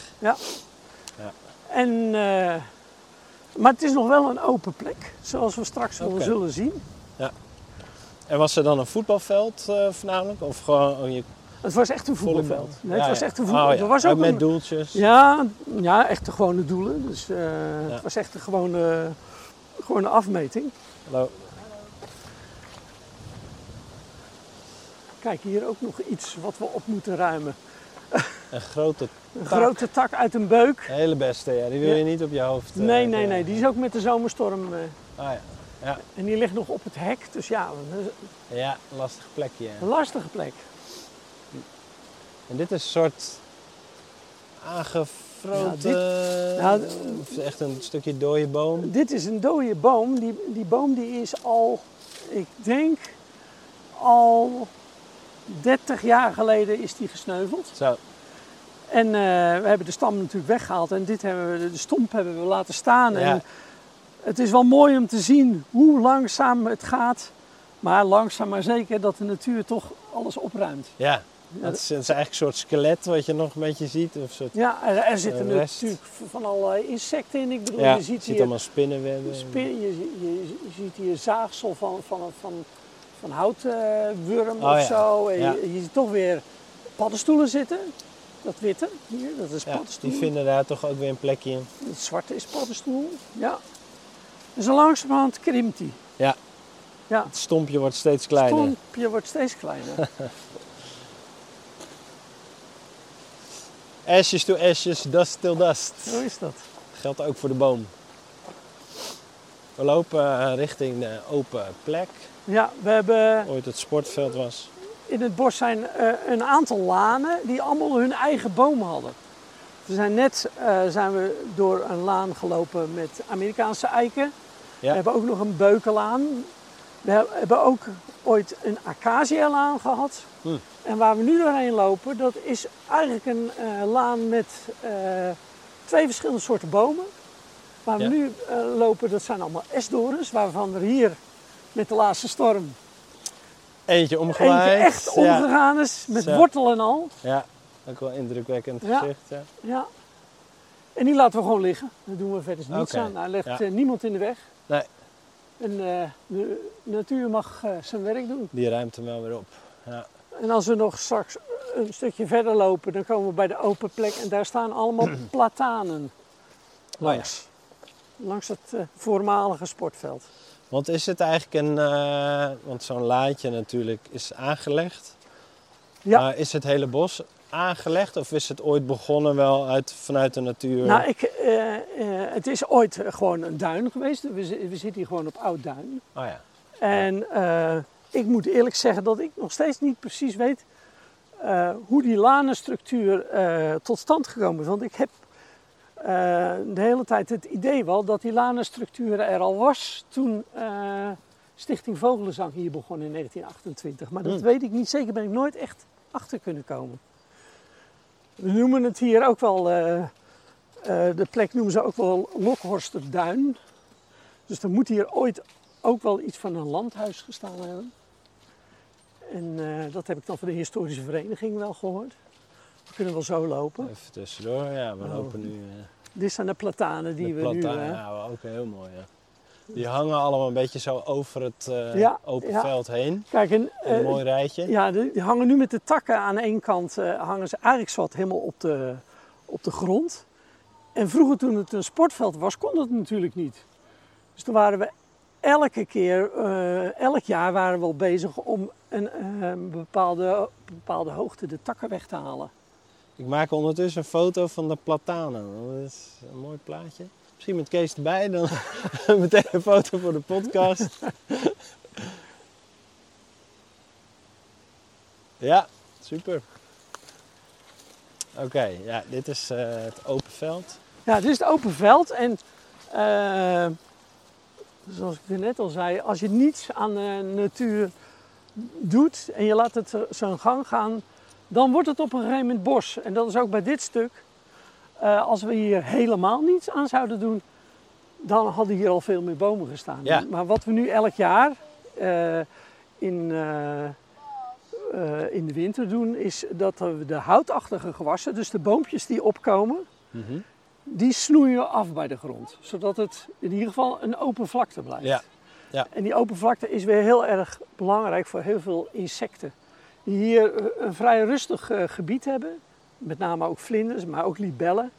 Speaker 1: en, eh, maar het is nog wel een open plek, zoals we straks wel
Speaker 4: Oké.
Speaker 1: zullen zien.
Speaker 4: En was er dan een voetbalveld eh, voornamelijk? Of gewoon oh, je
Speaker 1: Het was echt een voetbalveld.
Speaker 4: volleybalveld?
Speaker 1: Nee, het
Speaker 4: Ja,
Speaker 1: was
Speaker 4: ja.
Speaker 1: echt een voetbalveld.
Speaker 4: Oh, ja.
Speaker 1: Er was ook
Speaker 4: met
Speaker 1: een-
Speaker 4: doeltjes.
Speaker 1: Ja, ja, echt de gewone doelen. Dus eh,
Speaker 4: Ja.
Speaker 1: het was echt een gewone, gewone afmeting.
Speaker 4: Hallo.
Speaker 1: Kijk, hier ook nog iets wat we op moeten ruimen.
Speaker 4: Een grote,
Speaker 1: Een
Speaker 4: Tak.
Speaker 1: grote tak uit een beuk.
Speaker 4: de hele beste, ja. Die wil
Speaker 1: Ja.
Speaker 4: je niet op je hoofd. eh,
Speaker 1: Nee, nee,
Speaker 4: hebben.
Speaker 1: nee. Die is ook met de zomerstorm. eh,
Speaker 4: Ah, ja. Ja.
Speaker 1: en die ligt nog op het hek. Dus ja, een
Speaker 4: ja, lastig plekje. ja.
Speaker 1: een lastige plek.
Speaker 4: En dit is een soort aangevroten... eh,
Speaker 1: Nou,
Speaker 4: of echt een stukje dode boom.
Speaker 1: Dit is een dode boom. Die, die boom die is al, ik denk, al 30 jaar geleden is die gesneuveld.
Speaker 4: Zo,
Speaker 1: En eh, we hebben de stam natuurlijk weggehaald en dit hebben we, de stomp hebben we laten staan.
Speaker 4: Ja.
Speaker 1: En het is wel mooi om te zien hoe langzaam het gaat. Maar langzaam maar zeker dat de natuur toch alles opruimt.
Speaker 4: ja. Dat is, dat is eigenlijk een soort skelet wat je nog een beetje ziet. Of soort,
Speaker 1: Ja, er, er zitten
Speaker 4: De Eh, rest.
Speaker 1: natuurlijk van allerlei insecten in. Ik bedoel,
Speaker 4: ja,
Speaker 1: je ziet hier
Speaker 4: allemaal spinnenwebben.
Speaker 1: spin, je, zie- je, je ziet hier zaagsel van, van, van, van houtwurm
Speaker 4: Oh
Speaker 1: of
Speaker 4: ja,
Speaker 1: zo. En
Speaker 4: ja.
Speaker 1: je, je ziet toch weer paddenstoelen zitten. Dat witte hier, dat is
Speaker 4: ja,
Speaker 1: paddenstoel.
Speaker 4: die vinden daar toch ook weer een plekje in.
Speaker 1: Het zwarte is paddenstoel, ja. En zo langzamerhand krimpt hij.
Speaker 4: Ja,
Speaker 1: Ja,
Speaker 4: het stompje wordt steeds
Speaker 1: het
Speaker 4: kleiner.
Speaker 1: stompje wordt steeds
Speaker 4: [laughs]
Speaker 1: kleiner.
Speaker 4: Ashes to ashes, dust till dust.
Speaker 1: Zo is dat.
Speaker 4: Geldt ook voor de boom. We lopen eh, richting de open plek.
Speaker 1: Ja, we hebben
Speaker 4: Ooit het sportveld was.
Speaker 1: in het bos zijn eh, een aantal lanen die allemaal hun eigen boom hadden. We zijn net eh, zijn we door een laan gelopen met Amerikaanse eiken. We
Speaker 4: Ja,
Speaker 1: hebben ook nog een beukenlaan. We he- hebben ook ooit een acacia-laan gehad.
Speaker 4: Hm.
Speaker 1: En waar we nu doorheen lopen, dat is eigenlijk een eh, laan met eh, twee verschillende soorten bomen. Waar we
Speaker 4: Ja.
Speaker 1: nu eh, lopen, dat zijn allemaal esdorens, waarvan er hier met de laatste storm
Speaker 4: eentje
Speaker 1: eentje
Speaker 4: omgewaaid.
Speaker 1: echt
Speaker 4: ja.
Speaker 1: omgegaan is, met
Speaker 4: Zo.
Speaker 1: wortel en al.
Speaker 4: ja, ook wel indrukwekkend
Speaker 1: Ja.
Speaker 4: gezicht. Ja.
Speaker 1: Ja. En die laten we gewoon liggen. Daar doen we verder niets
Speaker 4: Oké,
Speaker 1: aan. Daar legt
Speaker 4: ja.
Speaker 1: eh, niemand in de weg.
Speaker 4: Nee,
Speaker 1: En eh, de natuur mag eh, zijn werk doen.
Speaker 4: die ruimt hem wel weer op. Ja.
Speaker 1: En als we nog straks een stukje verder lopen, dan komen we bij de open plek en daar staan allemaal platanen langs. Langs het eh, voormalige sportveld.
Speaker 4: Want is het eigenlijk een... eh, want zo'n laadje natuurlijk is aangelegd.
Speaker 1: Ja.
Speaker 4: Maar is het hele bos aangelegd? Of is het ooit begonnen wel uit, vanuit de natuur?
Speaker 1: Nou, ik, eh, eh, het is ooit gewoon een duin geweest. We, zi- we zitten hier gewoon op oud duin.
Speaker 4: Oh ja.
Speaker 1: En eh, ik moet eerlijk zeggen dat ik nog steeds niet precies weet eh, hoe die lanenstructuur eh, tot stand gekomen is. Want ik heb eh, de hele tijd het idee wel dat die lanenstructuur er al was toen eh, Stichting Vogelenzang hier begon in 1928. Maar dat
Speaker 4: Hmm.
Speaker 1: weet ik niet zeker, ben ik nooit echt achter kunnen komen. We noemen het hier ook wel, eh, eh, de plek noemen ze ook wel Lokhorsterduin. Dus er moet hier ooit ook wel iets van een landhuis gestaan hebben. En eh, dat heb ik dan van de historische vereniging wel gehoord. We kunnen wel zo lopen.
Speaker 4: Even tussendoor. Ja, we
Speaker 1: Oh.
Speaker 4: lopen nu... eh,
Speaker 1: Dit zijn de platanen die
Speaker 4: De
Speaker 1: we
Speaker 4: platanen,
Speaker 1: nu... eh,
Speaker 4: ja, ook heel mooi. Ja. Die hangen allemaal een beetje zo over het eh,
Speaker 1: Ja,
Speaker 4: open
Speaker 1: ja.
Speaker 4: veld heen.
Speaker 1: Kijk, en,
Speaker 4: Een
Speaker 1: eh,
Speaker 4: mooi rijtje.
Speaker 1: ja, die die hangen nu met de takken aan één kant. eh, hangen ze eigenlijk zat helemaal op de, op de grond. En vroeger toen het een sportveld was, kon dat natuurlijk niet. Dus toen waren we elke keer, eh, elk jaar waren we al bezig om een, eh, een bepaalde, op een bepaalde hoogte de takken weg te halen.
Speaker 4: Ik maak ondertussen een foto van de platanen. Dat is een [laughs] mooi plaatje. Misschien met Kees erbij, dan meteen een foto voor de podcast. [laughs] Ja, super. Oké, ja, dit is eh, het open veld.
Speaker 1: Ja, dit is het open veld. En eh, zoals ik er net al zei, als je niets aan de natuur doet en je laat het zo'n gang gaan, dan wordt het op een gegeven moment bos. En dat is ook bij dit stuk. Eh, als we hier helemaal niets aan zouden doen, dan hadden hier al veel meer bomen gestaan.
Speaker 4: Ja.
Speaker 1: Maar wat we nu elk jaar eh, in, eh, eh, in de winter doen, is dat we de houtachtige gewassen, dus de boompjes die opkomen,
Speaker 4: Mhm.
Speaker 1: die snoeien we af bij de grond. Zodat het in ieder geval een open vlakte blijft.
Speaker 4: Ja. Ja.
Speaker 1: En die open vlakte is weer heel erg belangrijk voor heel veel insecten. Die hier eh, een vrij rustig eh, gebied hebben. Met name ook vlinders, maar ook libellen.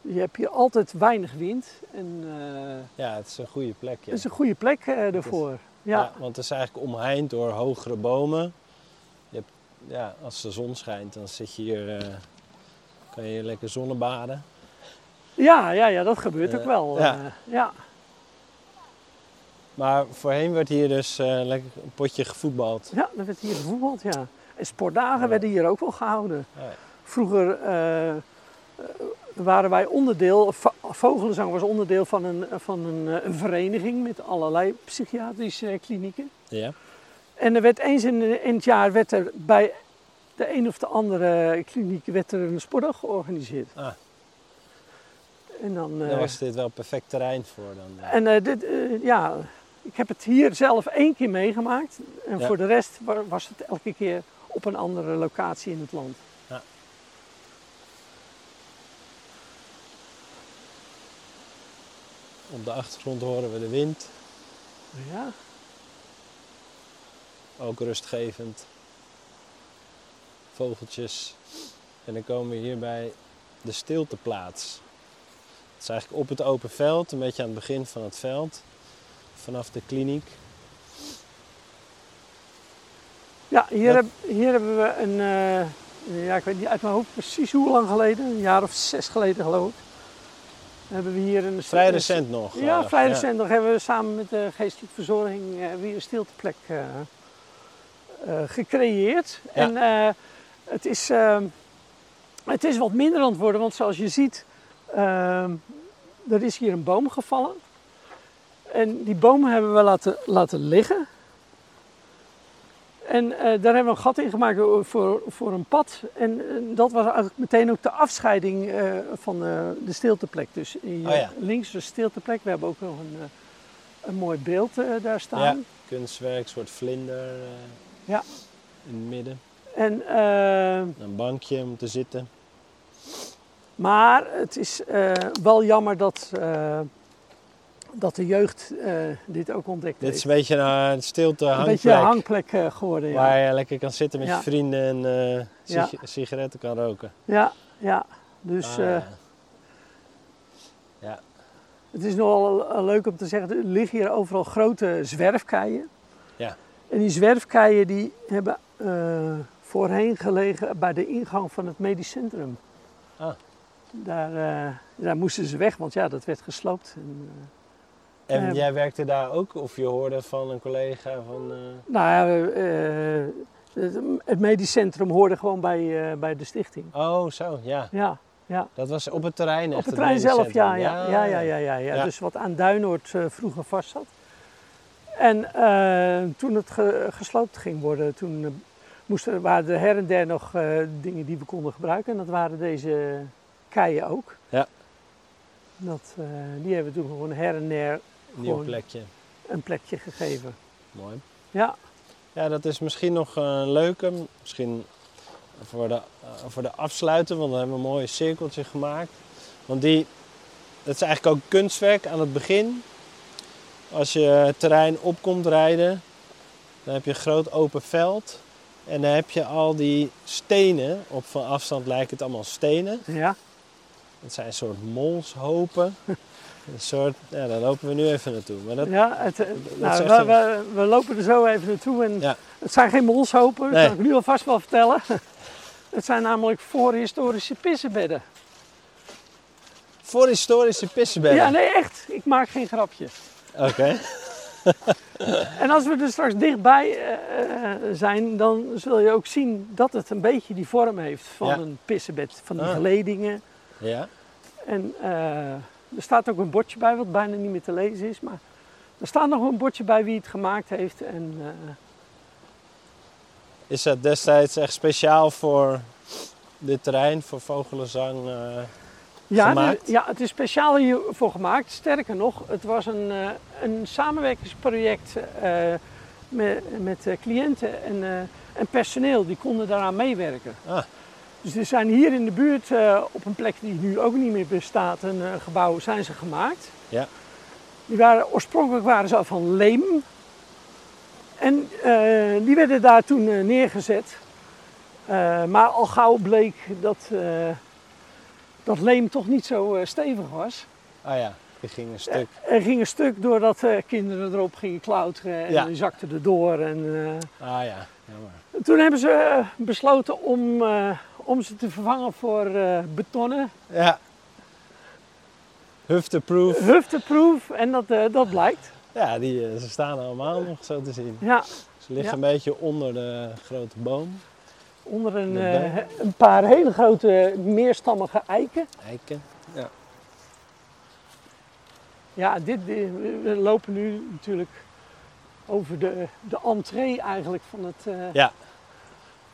Speaker 1: Je hebt hier altijd weinig wind. En eh
Speaker 4: Ja, het is een goede plek. Ja.
Speaker 1: het is een goede plek eh ervoor. Ja,
Speaker 4: Ja, want het is eigenlijk omheind door hogere bomen. Je hebt, ja, als de zon schijnt, dan zit je hier, eh, kan je hier lekker zonnebaden.
Speaker 1: ja, ja, ja dat gebeurt ook
Speaker 4: Eh,
Speaker 1: wel.
Speaker 4: ja.
Speaker 1: eh, ja.
Speaker 4: Maar voorheen werd hier dus eh, lekker een potje gevoetbald.
Speaker 1: ja, dat werd hier gevoetbald. Ja. En sportdagen
Speaker 4: Ja.
Speaker 1: werden hier ook wel gehouden.
Speaker 4: Ja,
Speaker 1: Vroeger eh, eh, waren wij onderdeel, va- Vogelenzang was onderdeel van, een, van een, eh, een vereniging met allerlei psychiatrische eh, klinieken.
Speaker 4: ja.
Speaker 1: En er werd eens in, in het jaar werd er bij de een of de andere kliniek werd er een sportdag georganiseerd.
Speaker 4: Ah.
Speaker 1: En dan, eh,
Speaker 4: daar was dit wel perfect terrein voor dan.
Speaker 1: en eh, dit, eh, ja, ik heb het hier zelf één keer meegemaakt. En
Speaker 4: Ja.
Speaker 1: voor de rest wa- was het elke keer op een andere locatie in het land.
Speaker 4: Op de achtergrond horen we de wind, Oh
Speaker 1: Ja.
Speaker 4: ook rustgevend. Vogeltjes. En dan komen we hier bij de stilteplaats. Het is eigenlijk op het open veld, een beetje aan het begin van het veld. Vanaf de kliniek.
Speaker 1: Ja, hier,
Speaker 4: Dat-
Speaker 1: heb, hier hebben we een, eh, ja, ik weet niet uit mijn hoofd precies hoe lang geleden, een jaar of zes geleden geloof ik, hebben we hier een...
Speaker 4: Vrij
Speaker 1: een-
Speaker 4: recent nog.
Speaker 1: Ja,
Speaker 4: eh,
Speaker 1: vrij recent nog hebben we samen met de geestelijke verzorging eh, weer een stilteplek eh, eh, gecreëerd.
Speaker 4: Ja.
Speaker 1: En eh, het, is, ehm, het is wat minder aan het worden, want zoals je ziet, ehm, er is hier een boom gevallen. En die boom hebben we laten, laten liggen. En eh, daar hebben we een gat in gemaakt voor, voor een pad. En eh, dat was eigenlijk meteen ook de afscheiding eh, van eh, de stilteplek. Dus hier
Speaker 4: Oh ja.
Speaker 1: links een stilteplek. We hebben ook nog een, eh, een mooi beeld eh, daar staan.
Speaker 4: Ja, kunstwerk, soort vlinder. eh,
Speaker 1: Ja.
Speaker 4: In het midden.
Speaker 1: En, eh,
Speaker 4: Een bankje om te zitten.
Speaker 1: maar het is eh, wel jammer dat, eh, dat de jeugd eh, dit ook ontdekt
Speaker 4: Dit is
Speaker 1: heeft.
Speaker 4: een beetje een eh, stilte
Speaker 1: een beetje
Speaker 4: hangplek.
Speaker 1: een hangplek eh, geworden. Ja.
Speaker 4: Waar je lekker kan zitten met
Speaker 1: Ja.
Speaker 4: je vrienden en eh,
Speaker 1: Ja.
Speaker 4: sig- sigaretten kan roken.
Speaker 1: ja, ja. Dus
Speaker 4: Ah,
Speaker 1: eh, Het is nogal eh, leuk om te zeggen, er liggen hier overal grote zwerfkeien.
Speaker 4: Ja.
Speaker 1: En die zwerfkeien die hebben eh, voorheen gelegen bij de ingang van het medisch centrum.
Speaker 4: Ah.
Speaker 1: Daar, eh, daar moesten ze weg, want ja, dat werd gesloopt. En, eh,
Speaker 4: En
Speaker 1: Ehm.
Speaker 4: jij werkte daar ook, of je hoorde van een collega van. eh,
Speaker 1: nou ja, eh, eh, het- het medisch centrum hoorde gewoon bij, eh, bij de stichting.
Speaker 4: Oh, zo, ja.
Speaker 1: Ja,
Speaker 4: Dat was op het terrein. Echt
Speaker 1: op het trein zelf,
Speaker 4: medecentrum.
Speaker 1: ja ja, ja, ja, ja, ja,
Speaker 4: Ja.
Speaker 1: Dus wat aan Duinoord eh, vroeger vast zat. En eh, toen het ge- gesloopt ging worden, toen eh, moesten, waren er her en der nog eh, dingen die we konden gebruiken. En dat waren deze keien ook.
Speaker 4: Ja.
Speaker 1: Dat, eh, die hebben we toen gewoon her en der
Speaker 4: Nieuw
Speaker 1: Gewoon.
Speaker 4: plekje.
Speaker 1: een plekje gegeven.
Speaker 4: Mooi.
Speaker 1: Ja,
Speaker 4: Ja, dat is misschien nog een leuke. Misschien voor de, eh, voor de afsluiten, want we hebben we een mooi cirkeltje gemaakt. Want die, dat is eigenlijk ook kunstwerk aan het begin. Als je het terrein op komt rijden, dan heb je een groot open veld. En dan heb je al die stenen. Op van afstand lijkt het allemaal stenen.
Speaker 1: ja,
Speaker 4: Het zijn een soort molshopen. een soort, ja, daar lopen we nu even naartoe. Maar dat,
Speaker 1: ja het, eh, nou,
Speaker 4: zegt
Speaker 1: we,
Speaker 4: een-
Speaker 1: we, we lopen er zo even naartoe. En
Speaker 4: Ja.
Speaker 1: Het zijn geen molshopen, dat
Speaker 4: Nee.
Speaker 1: kan ik nu alvast wel vertellen. [laughs] het zijn namelijk voorhistorische pissenbedden.
Speaker 4: voor historische pissenbedden.
Speaker 1: Ja, nee, echt. Ik maak geen grapje.
Speaker 4: Oké.
Speaker 1: en als we er straks dichtbij eh, eh, zijn, dan zul je ook zien dat het een beetje die vorm heeft van
Speaker 4: Ja.
Speaker 1: een pissebed. Van die
Speaker 4: Ah.
Speaker 1: geledingen.
Speaker 4: Ja,
Speaker 1: En eh, er staat ook een bordje bij, wat bijna niet meer te lezen is. Maar er staat nog een bordje bij wie het gemaakt heeft. En eh,
Speaker 4: is dat destijds echt speciaal voor dit terrein, voor vogelenzang? eh,
Speaker 1: Ja, de-
Speaker 4: Gemaakt?
Speaker 1: ja, het is speciaal hiervoor gemaakt. Sterker nog, het was een, eh, een samenwerkingsproject eh, met, met eh, cliënten en, eh, en personeel. Die konden daaraan meewerken.
Speaker 4: Ah.
Speaker 1: Dus er zijn hier in de buurt, eh, op een plek die nu ook niet meer bestaat, een eh, gebouw zijn ze gemaakt.
Speaker 4: Ja.
Speaker 1: Die waren, oorspronkelijk waren ze al van leem. En eh, die werden daar toen eh, neergezet. Eh, maar al gauw bleek dat... eh, dat leem toch niet zo eh, stevig was.
Speaker 4: Ah ja, die ging een stuk.
Speaker 1: Er ging een stuk doordat eh, kinderen erop gingen klauteren en
Speaker 4: Ja.
Speaker 1: die zakte erdoor. En, eh,
Speaker 4: Ah ja, jammer.
Speaker 1: toen hebben ze eh, besloten om, eh, om ze te vervangen voor eh, betonnen.
Speaker 4: Ja. Hufteproof.
Speaker 1: Hufteproof en dat, eh, dat blijkt.
Speaker 4: Ja, die, eh, ze staan allemaal nog zo te zien.
Speaker 1: Ja,
Speaker 4: Ze liggen
Speaker 1: Ja.
Speaker 4: een beetje onder de grote boom.
Speaker 1: onder een,
Speaker 4: Erbij.
Speaker 1: eh, een paar hele grote meerstammige eiken.
Speaker 4: Eiken.
Speaker 1: Ja, dit, dit- we lopen nu natuurlijk over de, de entree eigenlijk van het... eh,
Speaker 4: Ja.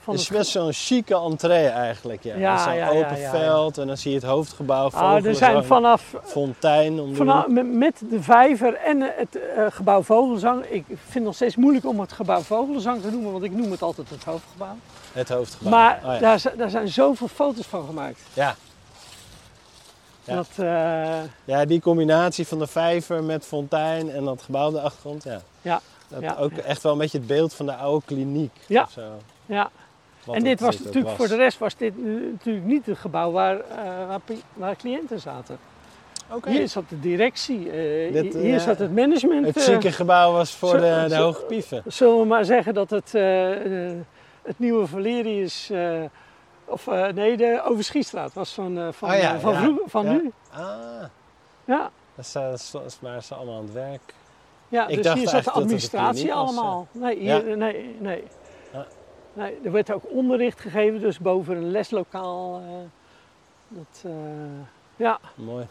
Speaker 1: van
Speaker 4: Het
Speaker 1: het
Speaker 4: is best zo'n chique entree eigenlijk. Ja.
Speaker 1: Ja,
Speaker 4: Met Zo'n
Speaker 1: ja, ja,
Speaker 4: open
Speaker 1: ja, ja.
Speaker 4: veld en dan zie je het hoofdgebouw.
Speaker 1: Ah, er zijn
Speaker 4: van
Speaker 1: vanaf
Speaker 4: Fontein om de
Speaker 1: Vanaf,
Speaker 4: hoek.
Speaker 1: met- met de vijver en het eh, gebouw Vogelzang. Ik vind het nog steeds moeilijk om het gebouw Vogelzang te noemen, want ik noem het altijd het hoofdgebouw.
Speaker 4: Het hoofdgebouw.
Speaker 1: Maar
Speaker 4: Oh, ja.
Speaker 1: daar, zi- daar zijn zoveel foto's van gemaakt.
Speaker 4: Ja. Ja.
Speaker 1: Dat, eh,
Speaker 4: ja, die combinatie van de vijver met fontein en dat gebouw op de achtergrond. Ja.
Speaker 1: Ja,
Speaker 4: Dat
Speaker 1: ja,
Speaker 4: ook
Speaker 1: ja.
Speaker 4: echt wel een beetje het beeld van de oude kliniek.
Speaker 1: Ja.
Speaker 4: of zo.
Speaker 1: ja.
Speaker 4: Wat
Speaker 1: En
Speaker 4: het-
Speaker 1: dit was
Speaker 4: het ook
Speaker 1: natuurlijk, voor
Speaker 4: was.
Speaker 1: de rest was dit nu natuurlijk niet het gebouw waar, eh, waar, pi- waar cliënten zaten.
Speaker 4: Oké.
Speaker 1: Hier zat de directie, eh,
Speaker 4: Dit,
Speaker 1: hi-
Speaker 4: eh,
Speaker 1: hier zat het management.
Speaker 4: Het
Speaker 1: eh,
Speaker 4: zieke gebouw was voor
Speaker 1: zo-
Speaker 4: de, de
Speaker 1: zo-
Speaker 4: hoge pieven.
Speaker 1: Zullen we maar zeggen dat het, eh, eh, het nieuwe Valerius. eh, of eh, nee, de Overschiestraat was van, eh, van,
Speaker 4: Ah, ja,
Speaker 1: eh, van,
Speaker 4: ja,
Speaker 1: vroeger- van
Speaker 4: ja.
Speaker 1: nu.
Speaker 4: Ah,
Speaker 1: Ja,
Speaker 4: dat zijn ze, dat waren ze allemaal aan het werk.
Speaker 1: ja
Speaker 4: Ik
Speaker 1: dus
Speaker 4: dacht
Speaker 1: hier zat de
Speaker 4: eigenlijk dat het een
Speaker 1: administratie
Speaker 4: kliniek was,
Speaker 1: allemaal. Nee, hier, nee, nee.
Speaker 4: Ja.
Speaker 1: nee. Er werd ook onderricht gegeven, dus boven een leslokaal. eh, dat, eh, ja,
Speaker 4: Mooi.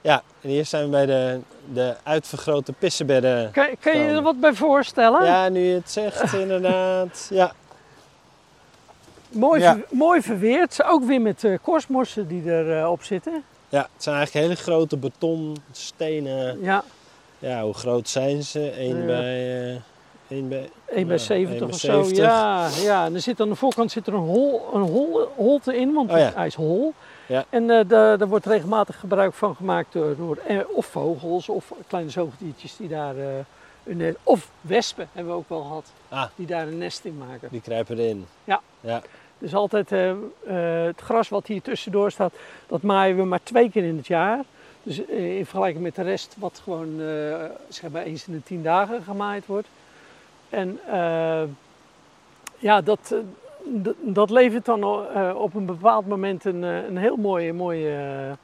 Speaker 4: Ja, en hier zijn we bij de, de uitvergrote pissenbedden.
Speaker 1: kan, kan je er
Speaker 4: Zo.
Speaker 1: wat bij voorstellen?
Speaker 4: Ja, nu je het zegt, inderdaad. Ja,
Speaker 1: Mooi,
Speaker 4: Ja.
Speaker 1: ver- mooi verweerd, ook weer met eh korstmossen die erop op zitten.
Speaker 4: ja, het zijn eigenlijk hele grote betonstenen.
Speaker 1: Ja,
Speaker 4: Ja, hoe groot zijn ze? Eén
Speaker 1: Ja.
Speaker 4: bij... eh één bij
Speaker 1: 1 bij
Speaker 4: Ja,
Speaker 1: 70
Speaker 4: 1
Speaker 1: of
Speaker 4: bij 70.
Speaker 1: zo. Ja, ja. En er zit aan de voorkant zit er een, hol, een hol, holte in, want
Speaker 4: Oh ja.
Speaker 1: hij is hol.
Speaker 4: Ja.
Speaker 1: En eh, daar, daar wordt regelmatig gebruik van gemaakt door, door eh, of vogels of kleine zoogdiertjes die daar eh, een nest. Of wespen hebben we ook wel gehad,
Speaker 4: Ah.
Speaker 1: die daar een nest in maken.
Speaker 4: die kruipen erin.
Speaker 1: Ja.
Speaker 4: ja.
Speaker 1: Dus altijd eh, eh, het gras wat hier tussendoor staat, dat maaien we maar twee keer in het jaar. Dus eh, in vergelijking met de rest, wat gewoon eh, zeg maar eens in de tien dagen gemaaid wordt. En eh, ja, dat, eh, d- dat levert dan eh, op een bepaald moment een, eh, een heel mooi, mooi eh, eh,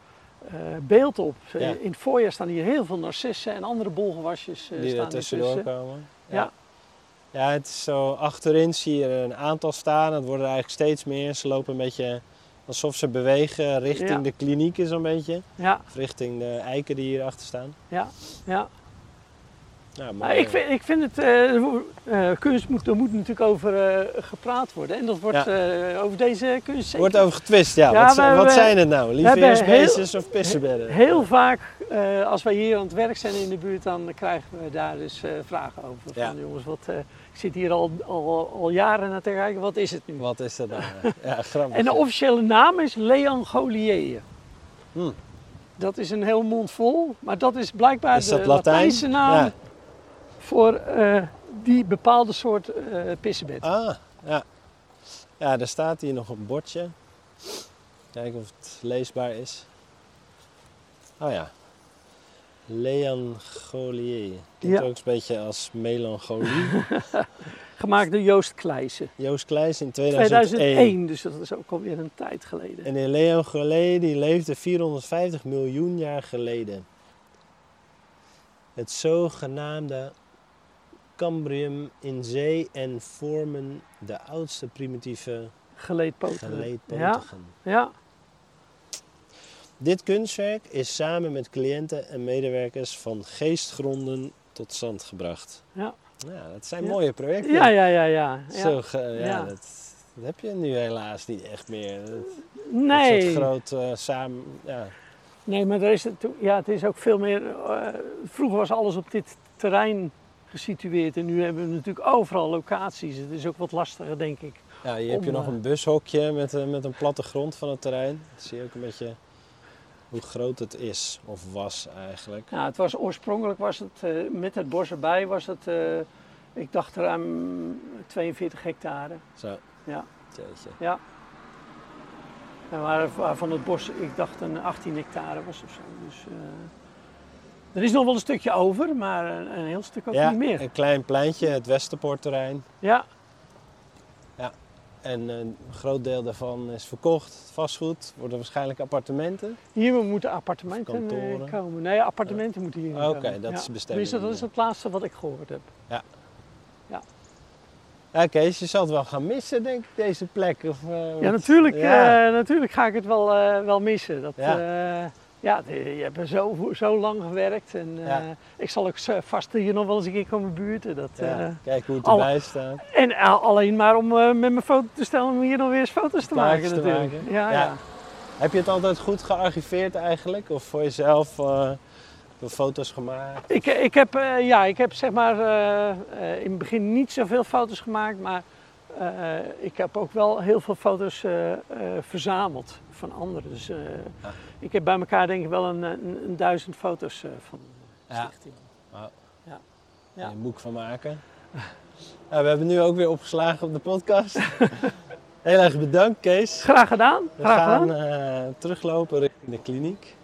Speaker 1: beeld op.
Speaker 4: Ja.
Speaker 1: Eh, In het voorjaar staan hier heel veel narcissen en andere bolgewasjes. eh,
Speaker 4: die
Speaker 1: staan hier
Speaker 4: er tussendoor
Speaker 1: tussen.
Speaker 4: komen.
Speaker 1: Ja.
Speaker 4: Ja, het is zo achterin zie je er een aantal staan. Het worden er eigenlijk steeds meer. Ze lopen een beetje alsof ze bewegen richting
Speaker 1: Ja.
Speaker 4: de klinieken zo'n beetje.
Speaker 1: Ja,
Speaker 4: Of richting de eiken die hierachter staan.
Speaker 1: ja, ja.
Speaker 4: Ja,
Speaker 1: Nou,
Speaker 4: mooi.
Speaker 1: ik, vind, ik vind het, eh, er wo- eh, kunst moet, er moet natuurlijk over eh, gepraat worden. En dat wordt eh, over deze kunst zeker.
Speaker 4: Wordt over getwist, ja.
Speaker 1: Ja,
Speaker 4: wat z-
Speaker 1: we-
Speaker 4: wat
Speaker 1: we-
Speaker 4: zijn het nou? Lieve
Speaker 1: hebben
Speaker 4: heersbeestjes of pissenbedden?
Speaker 1: Heel vaak, eh, als wij hier aan het werk zijn in de buurt, dan krijgen we daar dus eh, vragen over.
Speaker 4: Ja.
Speaker 1: Van jongens, wat, eh, ik zit hier al, al, al jaren naar te kijken, wat is het nu?
Speaker 4: Wat is dat nou? ja, grappig.
Speaker 1: En de
Speaker 4: ja.
Speaker 1: officiële naam is Leon Golier.
Speaker 4: Hmm.
Speaker 1: Dat is een heel mond vol, maar dat is blijkbaar
Speaker 4: Is
Speaker 1: de
Speaker 4: dat Latijn?
Speaker 1: Latijnse naam
Speaker 4: Ja.
Speaker 1: voor eh, die bepaalde soort eh pissebed.
Speaker 4: Ah, ja. Ja, er staat hier nog een bordje. Kijken of het leesbaar is. Oh ja. Leangolier. Klinkt
Speaker 1: Ja.
Speaker 4: ook een beetje als melancholie.
Speaker 1: [laughs] Gemaakt door Joost Kleijsen.
Speaker 4: Joost Kleijs in 2001.
Speaker 1: 2001, dus dat is ook alweer een tijd geleden.
Speaker 4: En de Leangolier die leefde 450 miljoen jaar geleden. het zogenaamde Cambrium in zee en vormen de oudste primitieve
Speaker 1: Geleedpoten.
Speaker 4: geleedpotigen.
Speaker 1: Ja, ja.
Speaker 4: Dit kunstwerk is samen met cliënten en medewerkers van geestgronden tot stand gebracht.
Speaker 1: Ja.
Speaker 4: Nou, dat zijn
Speaker 1: Ja.
Speaker 4: mooie projecten.
Speaker 1: ja, ja, ja, ja. ja.
Speaker 4: Zo, ge- ja,
Speaker 1: Ja.
Speaker 4: Dat, dat heb je nu helaas niet echt meer. Dat, Dat
Speaker 1: nee.
Speaker 4: soort groot eh, samen... Ja.
Speaker 1: nee, maar er is, het- ja, het is ook veel meer. eh, vroeger was alles op dit terrein gesitueerd en nu hebben we natuurlijk overal locaties. Het is ook wat lastiger, denk ik.
Speaker 4: Ja, hier
Speaker 1: Om,
Speaker 4: heb je nog
Speaker 1: eh,
Speaker 4: een bushokje met, een- met een plattegrond van het terrein. Dan zie je ook een beetje hoe groot het is, of was eigenlijk.
Speaker 1: Ja, het was oorspronkelijk was het eh, met het bos erbij was het, eh, ik dacht ruim 42 hectare.
Speaker 4: Zo.
Speaker 1: Ja.
Speaker 4: Jeetje.
Speaker 1: Ja. En waar, waarvan het bos, ik dacht een 18 hectare was of zo. Dus, eh, er is nog wel een stukje over, maar een, een heel stuk ook
Speaker 4: Ja,
Speaker 1: niet meer.
Speaker 4: een klein pleintje, het Westerpoortterrein.
Speaker 1: Ja,
Speaker 4: En een groot deel daarvan is verkocht, vastgoed. Worden waarschijnlijk appartementen.
Speaker 1: hier moeten appartementen eh,
Speaker 4: Kantoren.
Speaker 1: komen. Nee, appartementen moeten hier
Speaker 4: Oké,
Speaker 1: komen.
Speaker 4: dat
Speaker 1: Ja.
Speaker 4: is bestemming.
Speaker 1: Tenminste, dat is het laatste wat ik gehoord heb.
Speaker 4: Ja, Kees, je zal het wel gaan missen, denk ik, deze plek. Of, eh,
Speaker 1: Ja,
Speaker 4: wat-
Speaker 1: natuurlijk,
Speaker 4: Ja.
Speaker 1: eh, natuurlijk ga ik het wel, eh, wel missen. Dat,
Speaker 4: Ja.
Speaker 1: eh, ja, de- je hebt er zo, zo lang gewerkt en eh,
Speaker 4: Ja.
Speaker 1: ik zal ook zo- vast hier nog wel eens een keer komen buurten. Dat,
Speaker 4: Ja,
Speaker 1: eh,
Speaker 4: Kijk hoe het
Speaker 1: alle-
Speaker 4: erbij staat.
Speaker 1: en a- alleen maar om eh, met mijn foto te stellen, om hier nog weer eens foto's te
Speaker 4: Plaatjes
Speaker 1: maken
Speaker 4: te
Speaker 1: natuurlijk.
Speaker 4: maken.
Speaker 1: Ja,
Speaker 4: Ja.
Speaker 1: ja.
Speaker 4: Heb je het altijd goed gearchiveerd eigenlijk? Of voor jezelf eh, veel foto's gemaakt?
Speaker 1: Ik, ik, heb, eh, ja, ik heb zeg maar eh, eh, in het begin niet zoveel foto's gemaakt, maar eh, ik heb ook wel heel veel foto's eh, eh, verzameld van anderen. Dus eh,
Speaker 4: Ah.
Speaker 1: ik heb bij elkaar denk ik wel een, een, een duizend foto's eh, van de
Speaker 4: Ja.
Speaker 1: stichting. Ja.
Speaker 4: Een boek van maken. [laughs] Nou, we hebben nu ook weer opgeslagen op de
Speaker 1: [laughs]
Speaker 4: podcast. Heel erg bedankt, Kees.
Speaker 1: Graag gedaan.
Speaker 4: We
Speaker 1: Graag
Speaker 4: gaan
Speaker 1: gedaan.
Speaker 4: eh, teruglopen richting de kliniek.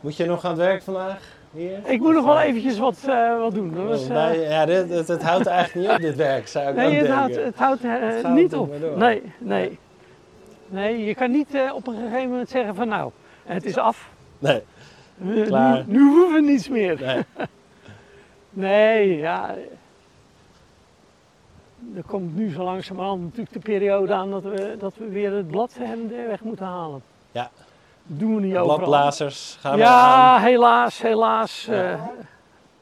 Speaker 4: Moet je nog aan het werk vandaag? Hier?
Speaker 1: Ik moet nog
Speaker 4: Of,
Speaker 1: wel
Speaker 4: eh,
Speaker 1: eventjes wat, eh, wat doen. Dat was, eh,
Speaker 4: nou, ja, dit, het, het houdt eigenlijk niet op, dit werk, zou ik ook
Speaker 1: nee, het
Speaker 4: denken.
Speaker 1: houdt, het houdt eh,
Speaker 4: gaat
Speaker 1: niet
Speaker 4: niet
Speaker 1: op.
Speaker 4: meer door.
Speaker 1: Nee, nee. Nee, je kan niet eh, op een gegeven moment zeggen van nou, het is af. Eh,
Speaker 4: Nee,
Speaker 1: Nu,
Speaker 4: Klaar.
Speaker 1: nu hoeven we niets meer.
Speaker 4: nee.
Speaker 1: Nee, ja. Er komt nu zo langzamerhand natuurlijk de periode aan dat we, dat we weer het blad hem er weg moeten halen.
Speaker 4: Ja.
Speaker 1: Dat doen we niet overal.
Speaker 4: Bladblazers gaan we
Speaker 1: Ja,
Speaker 4: aan.
Speaker 1: helaas, helaas. eh,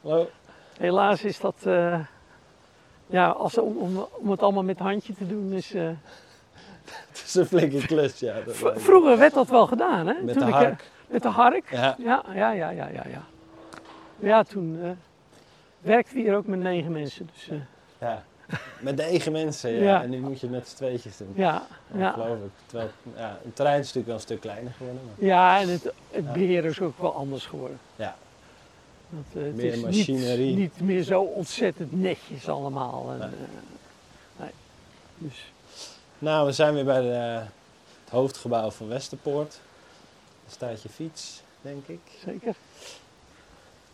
Speaker 4: Hallo.
Speaker 1: helaas is dat... eh, ja, als, om, om, om het allemaal met handje te doen is... eh,
Speaker 4: Het is een flinke klus, ja. dat
Speaker 1: v-
Speaker 4: lijkt me.
Speaker 1: vroeger werd dat wel gedaan, hè?
Speaker 4: Met
Speaker 1: Toen
Speaker 4: de
Speaker 1: ik, eh,
Speaker 4: hark.
Speaker 1: met de hark.
Speaker 4: Ja.
Speaker 1: Ja, ja, ja, ja, ja. Ja, ja toen eh werkten we hier ook met negen mensen. Dus, eh,
Speaker 4: Ja. Met negen mensen, ja.
Speaker 1: Ja.
Speaker 4: En nu moet je het met z'n tweetjes doen.
Speaker 1: ja, ja.
Speaker 4: Ongelooflijk. Terwijl ja, een terrein is natuurlijk wel een stuk kleiner geworden. Maar
Speaker 1: Ja, en het, het beheer is ook wel anders geworden.
Speaker 4: ja,
Speaker 1: Want, eh, het
Speaker 4: Meer
Speaker 1: is
Speaker 4: machinerie.
Speaker 1: Niet, niet meer zo ontzettend netjes allemaal. En,
Speaker 4: Nee.
Speaker 1: eh, nee. Dus,
Speaker 4: Nou, we zijn weer bij de, het hoofdgebouw van Westerpoort. Daar staat je fiets, denk ik.
Speaker 1: zeker.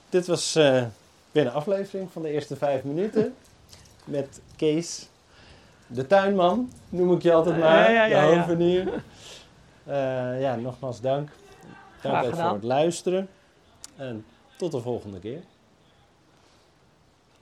Speaker 4: Dit was eh, weer een aflevering van de eerste vijf
Speaker 1: [laughs]
Speaker 4: minuten. Met Kees, de tuinman, noem ik je altijd maar.
Speaker 1: Ja, ja, ja,
Speaker 4: de
Speaker 1: ja.
Speaker 4: hovenier. Eh, ja, nogmaals dank. Dank
Speaker 1: Graag
Speaker 4: ook voor
Speaker 1: gedaan.
Speaker 4: het luisteren. En tot de volgende keer.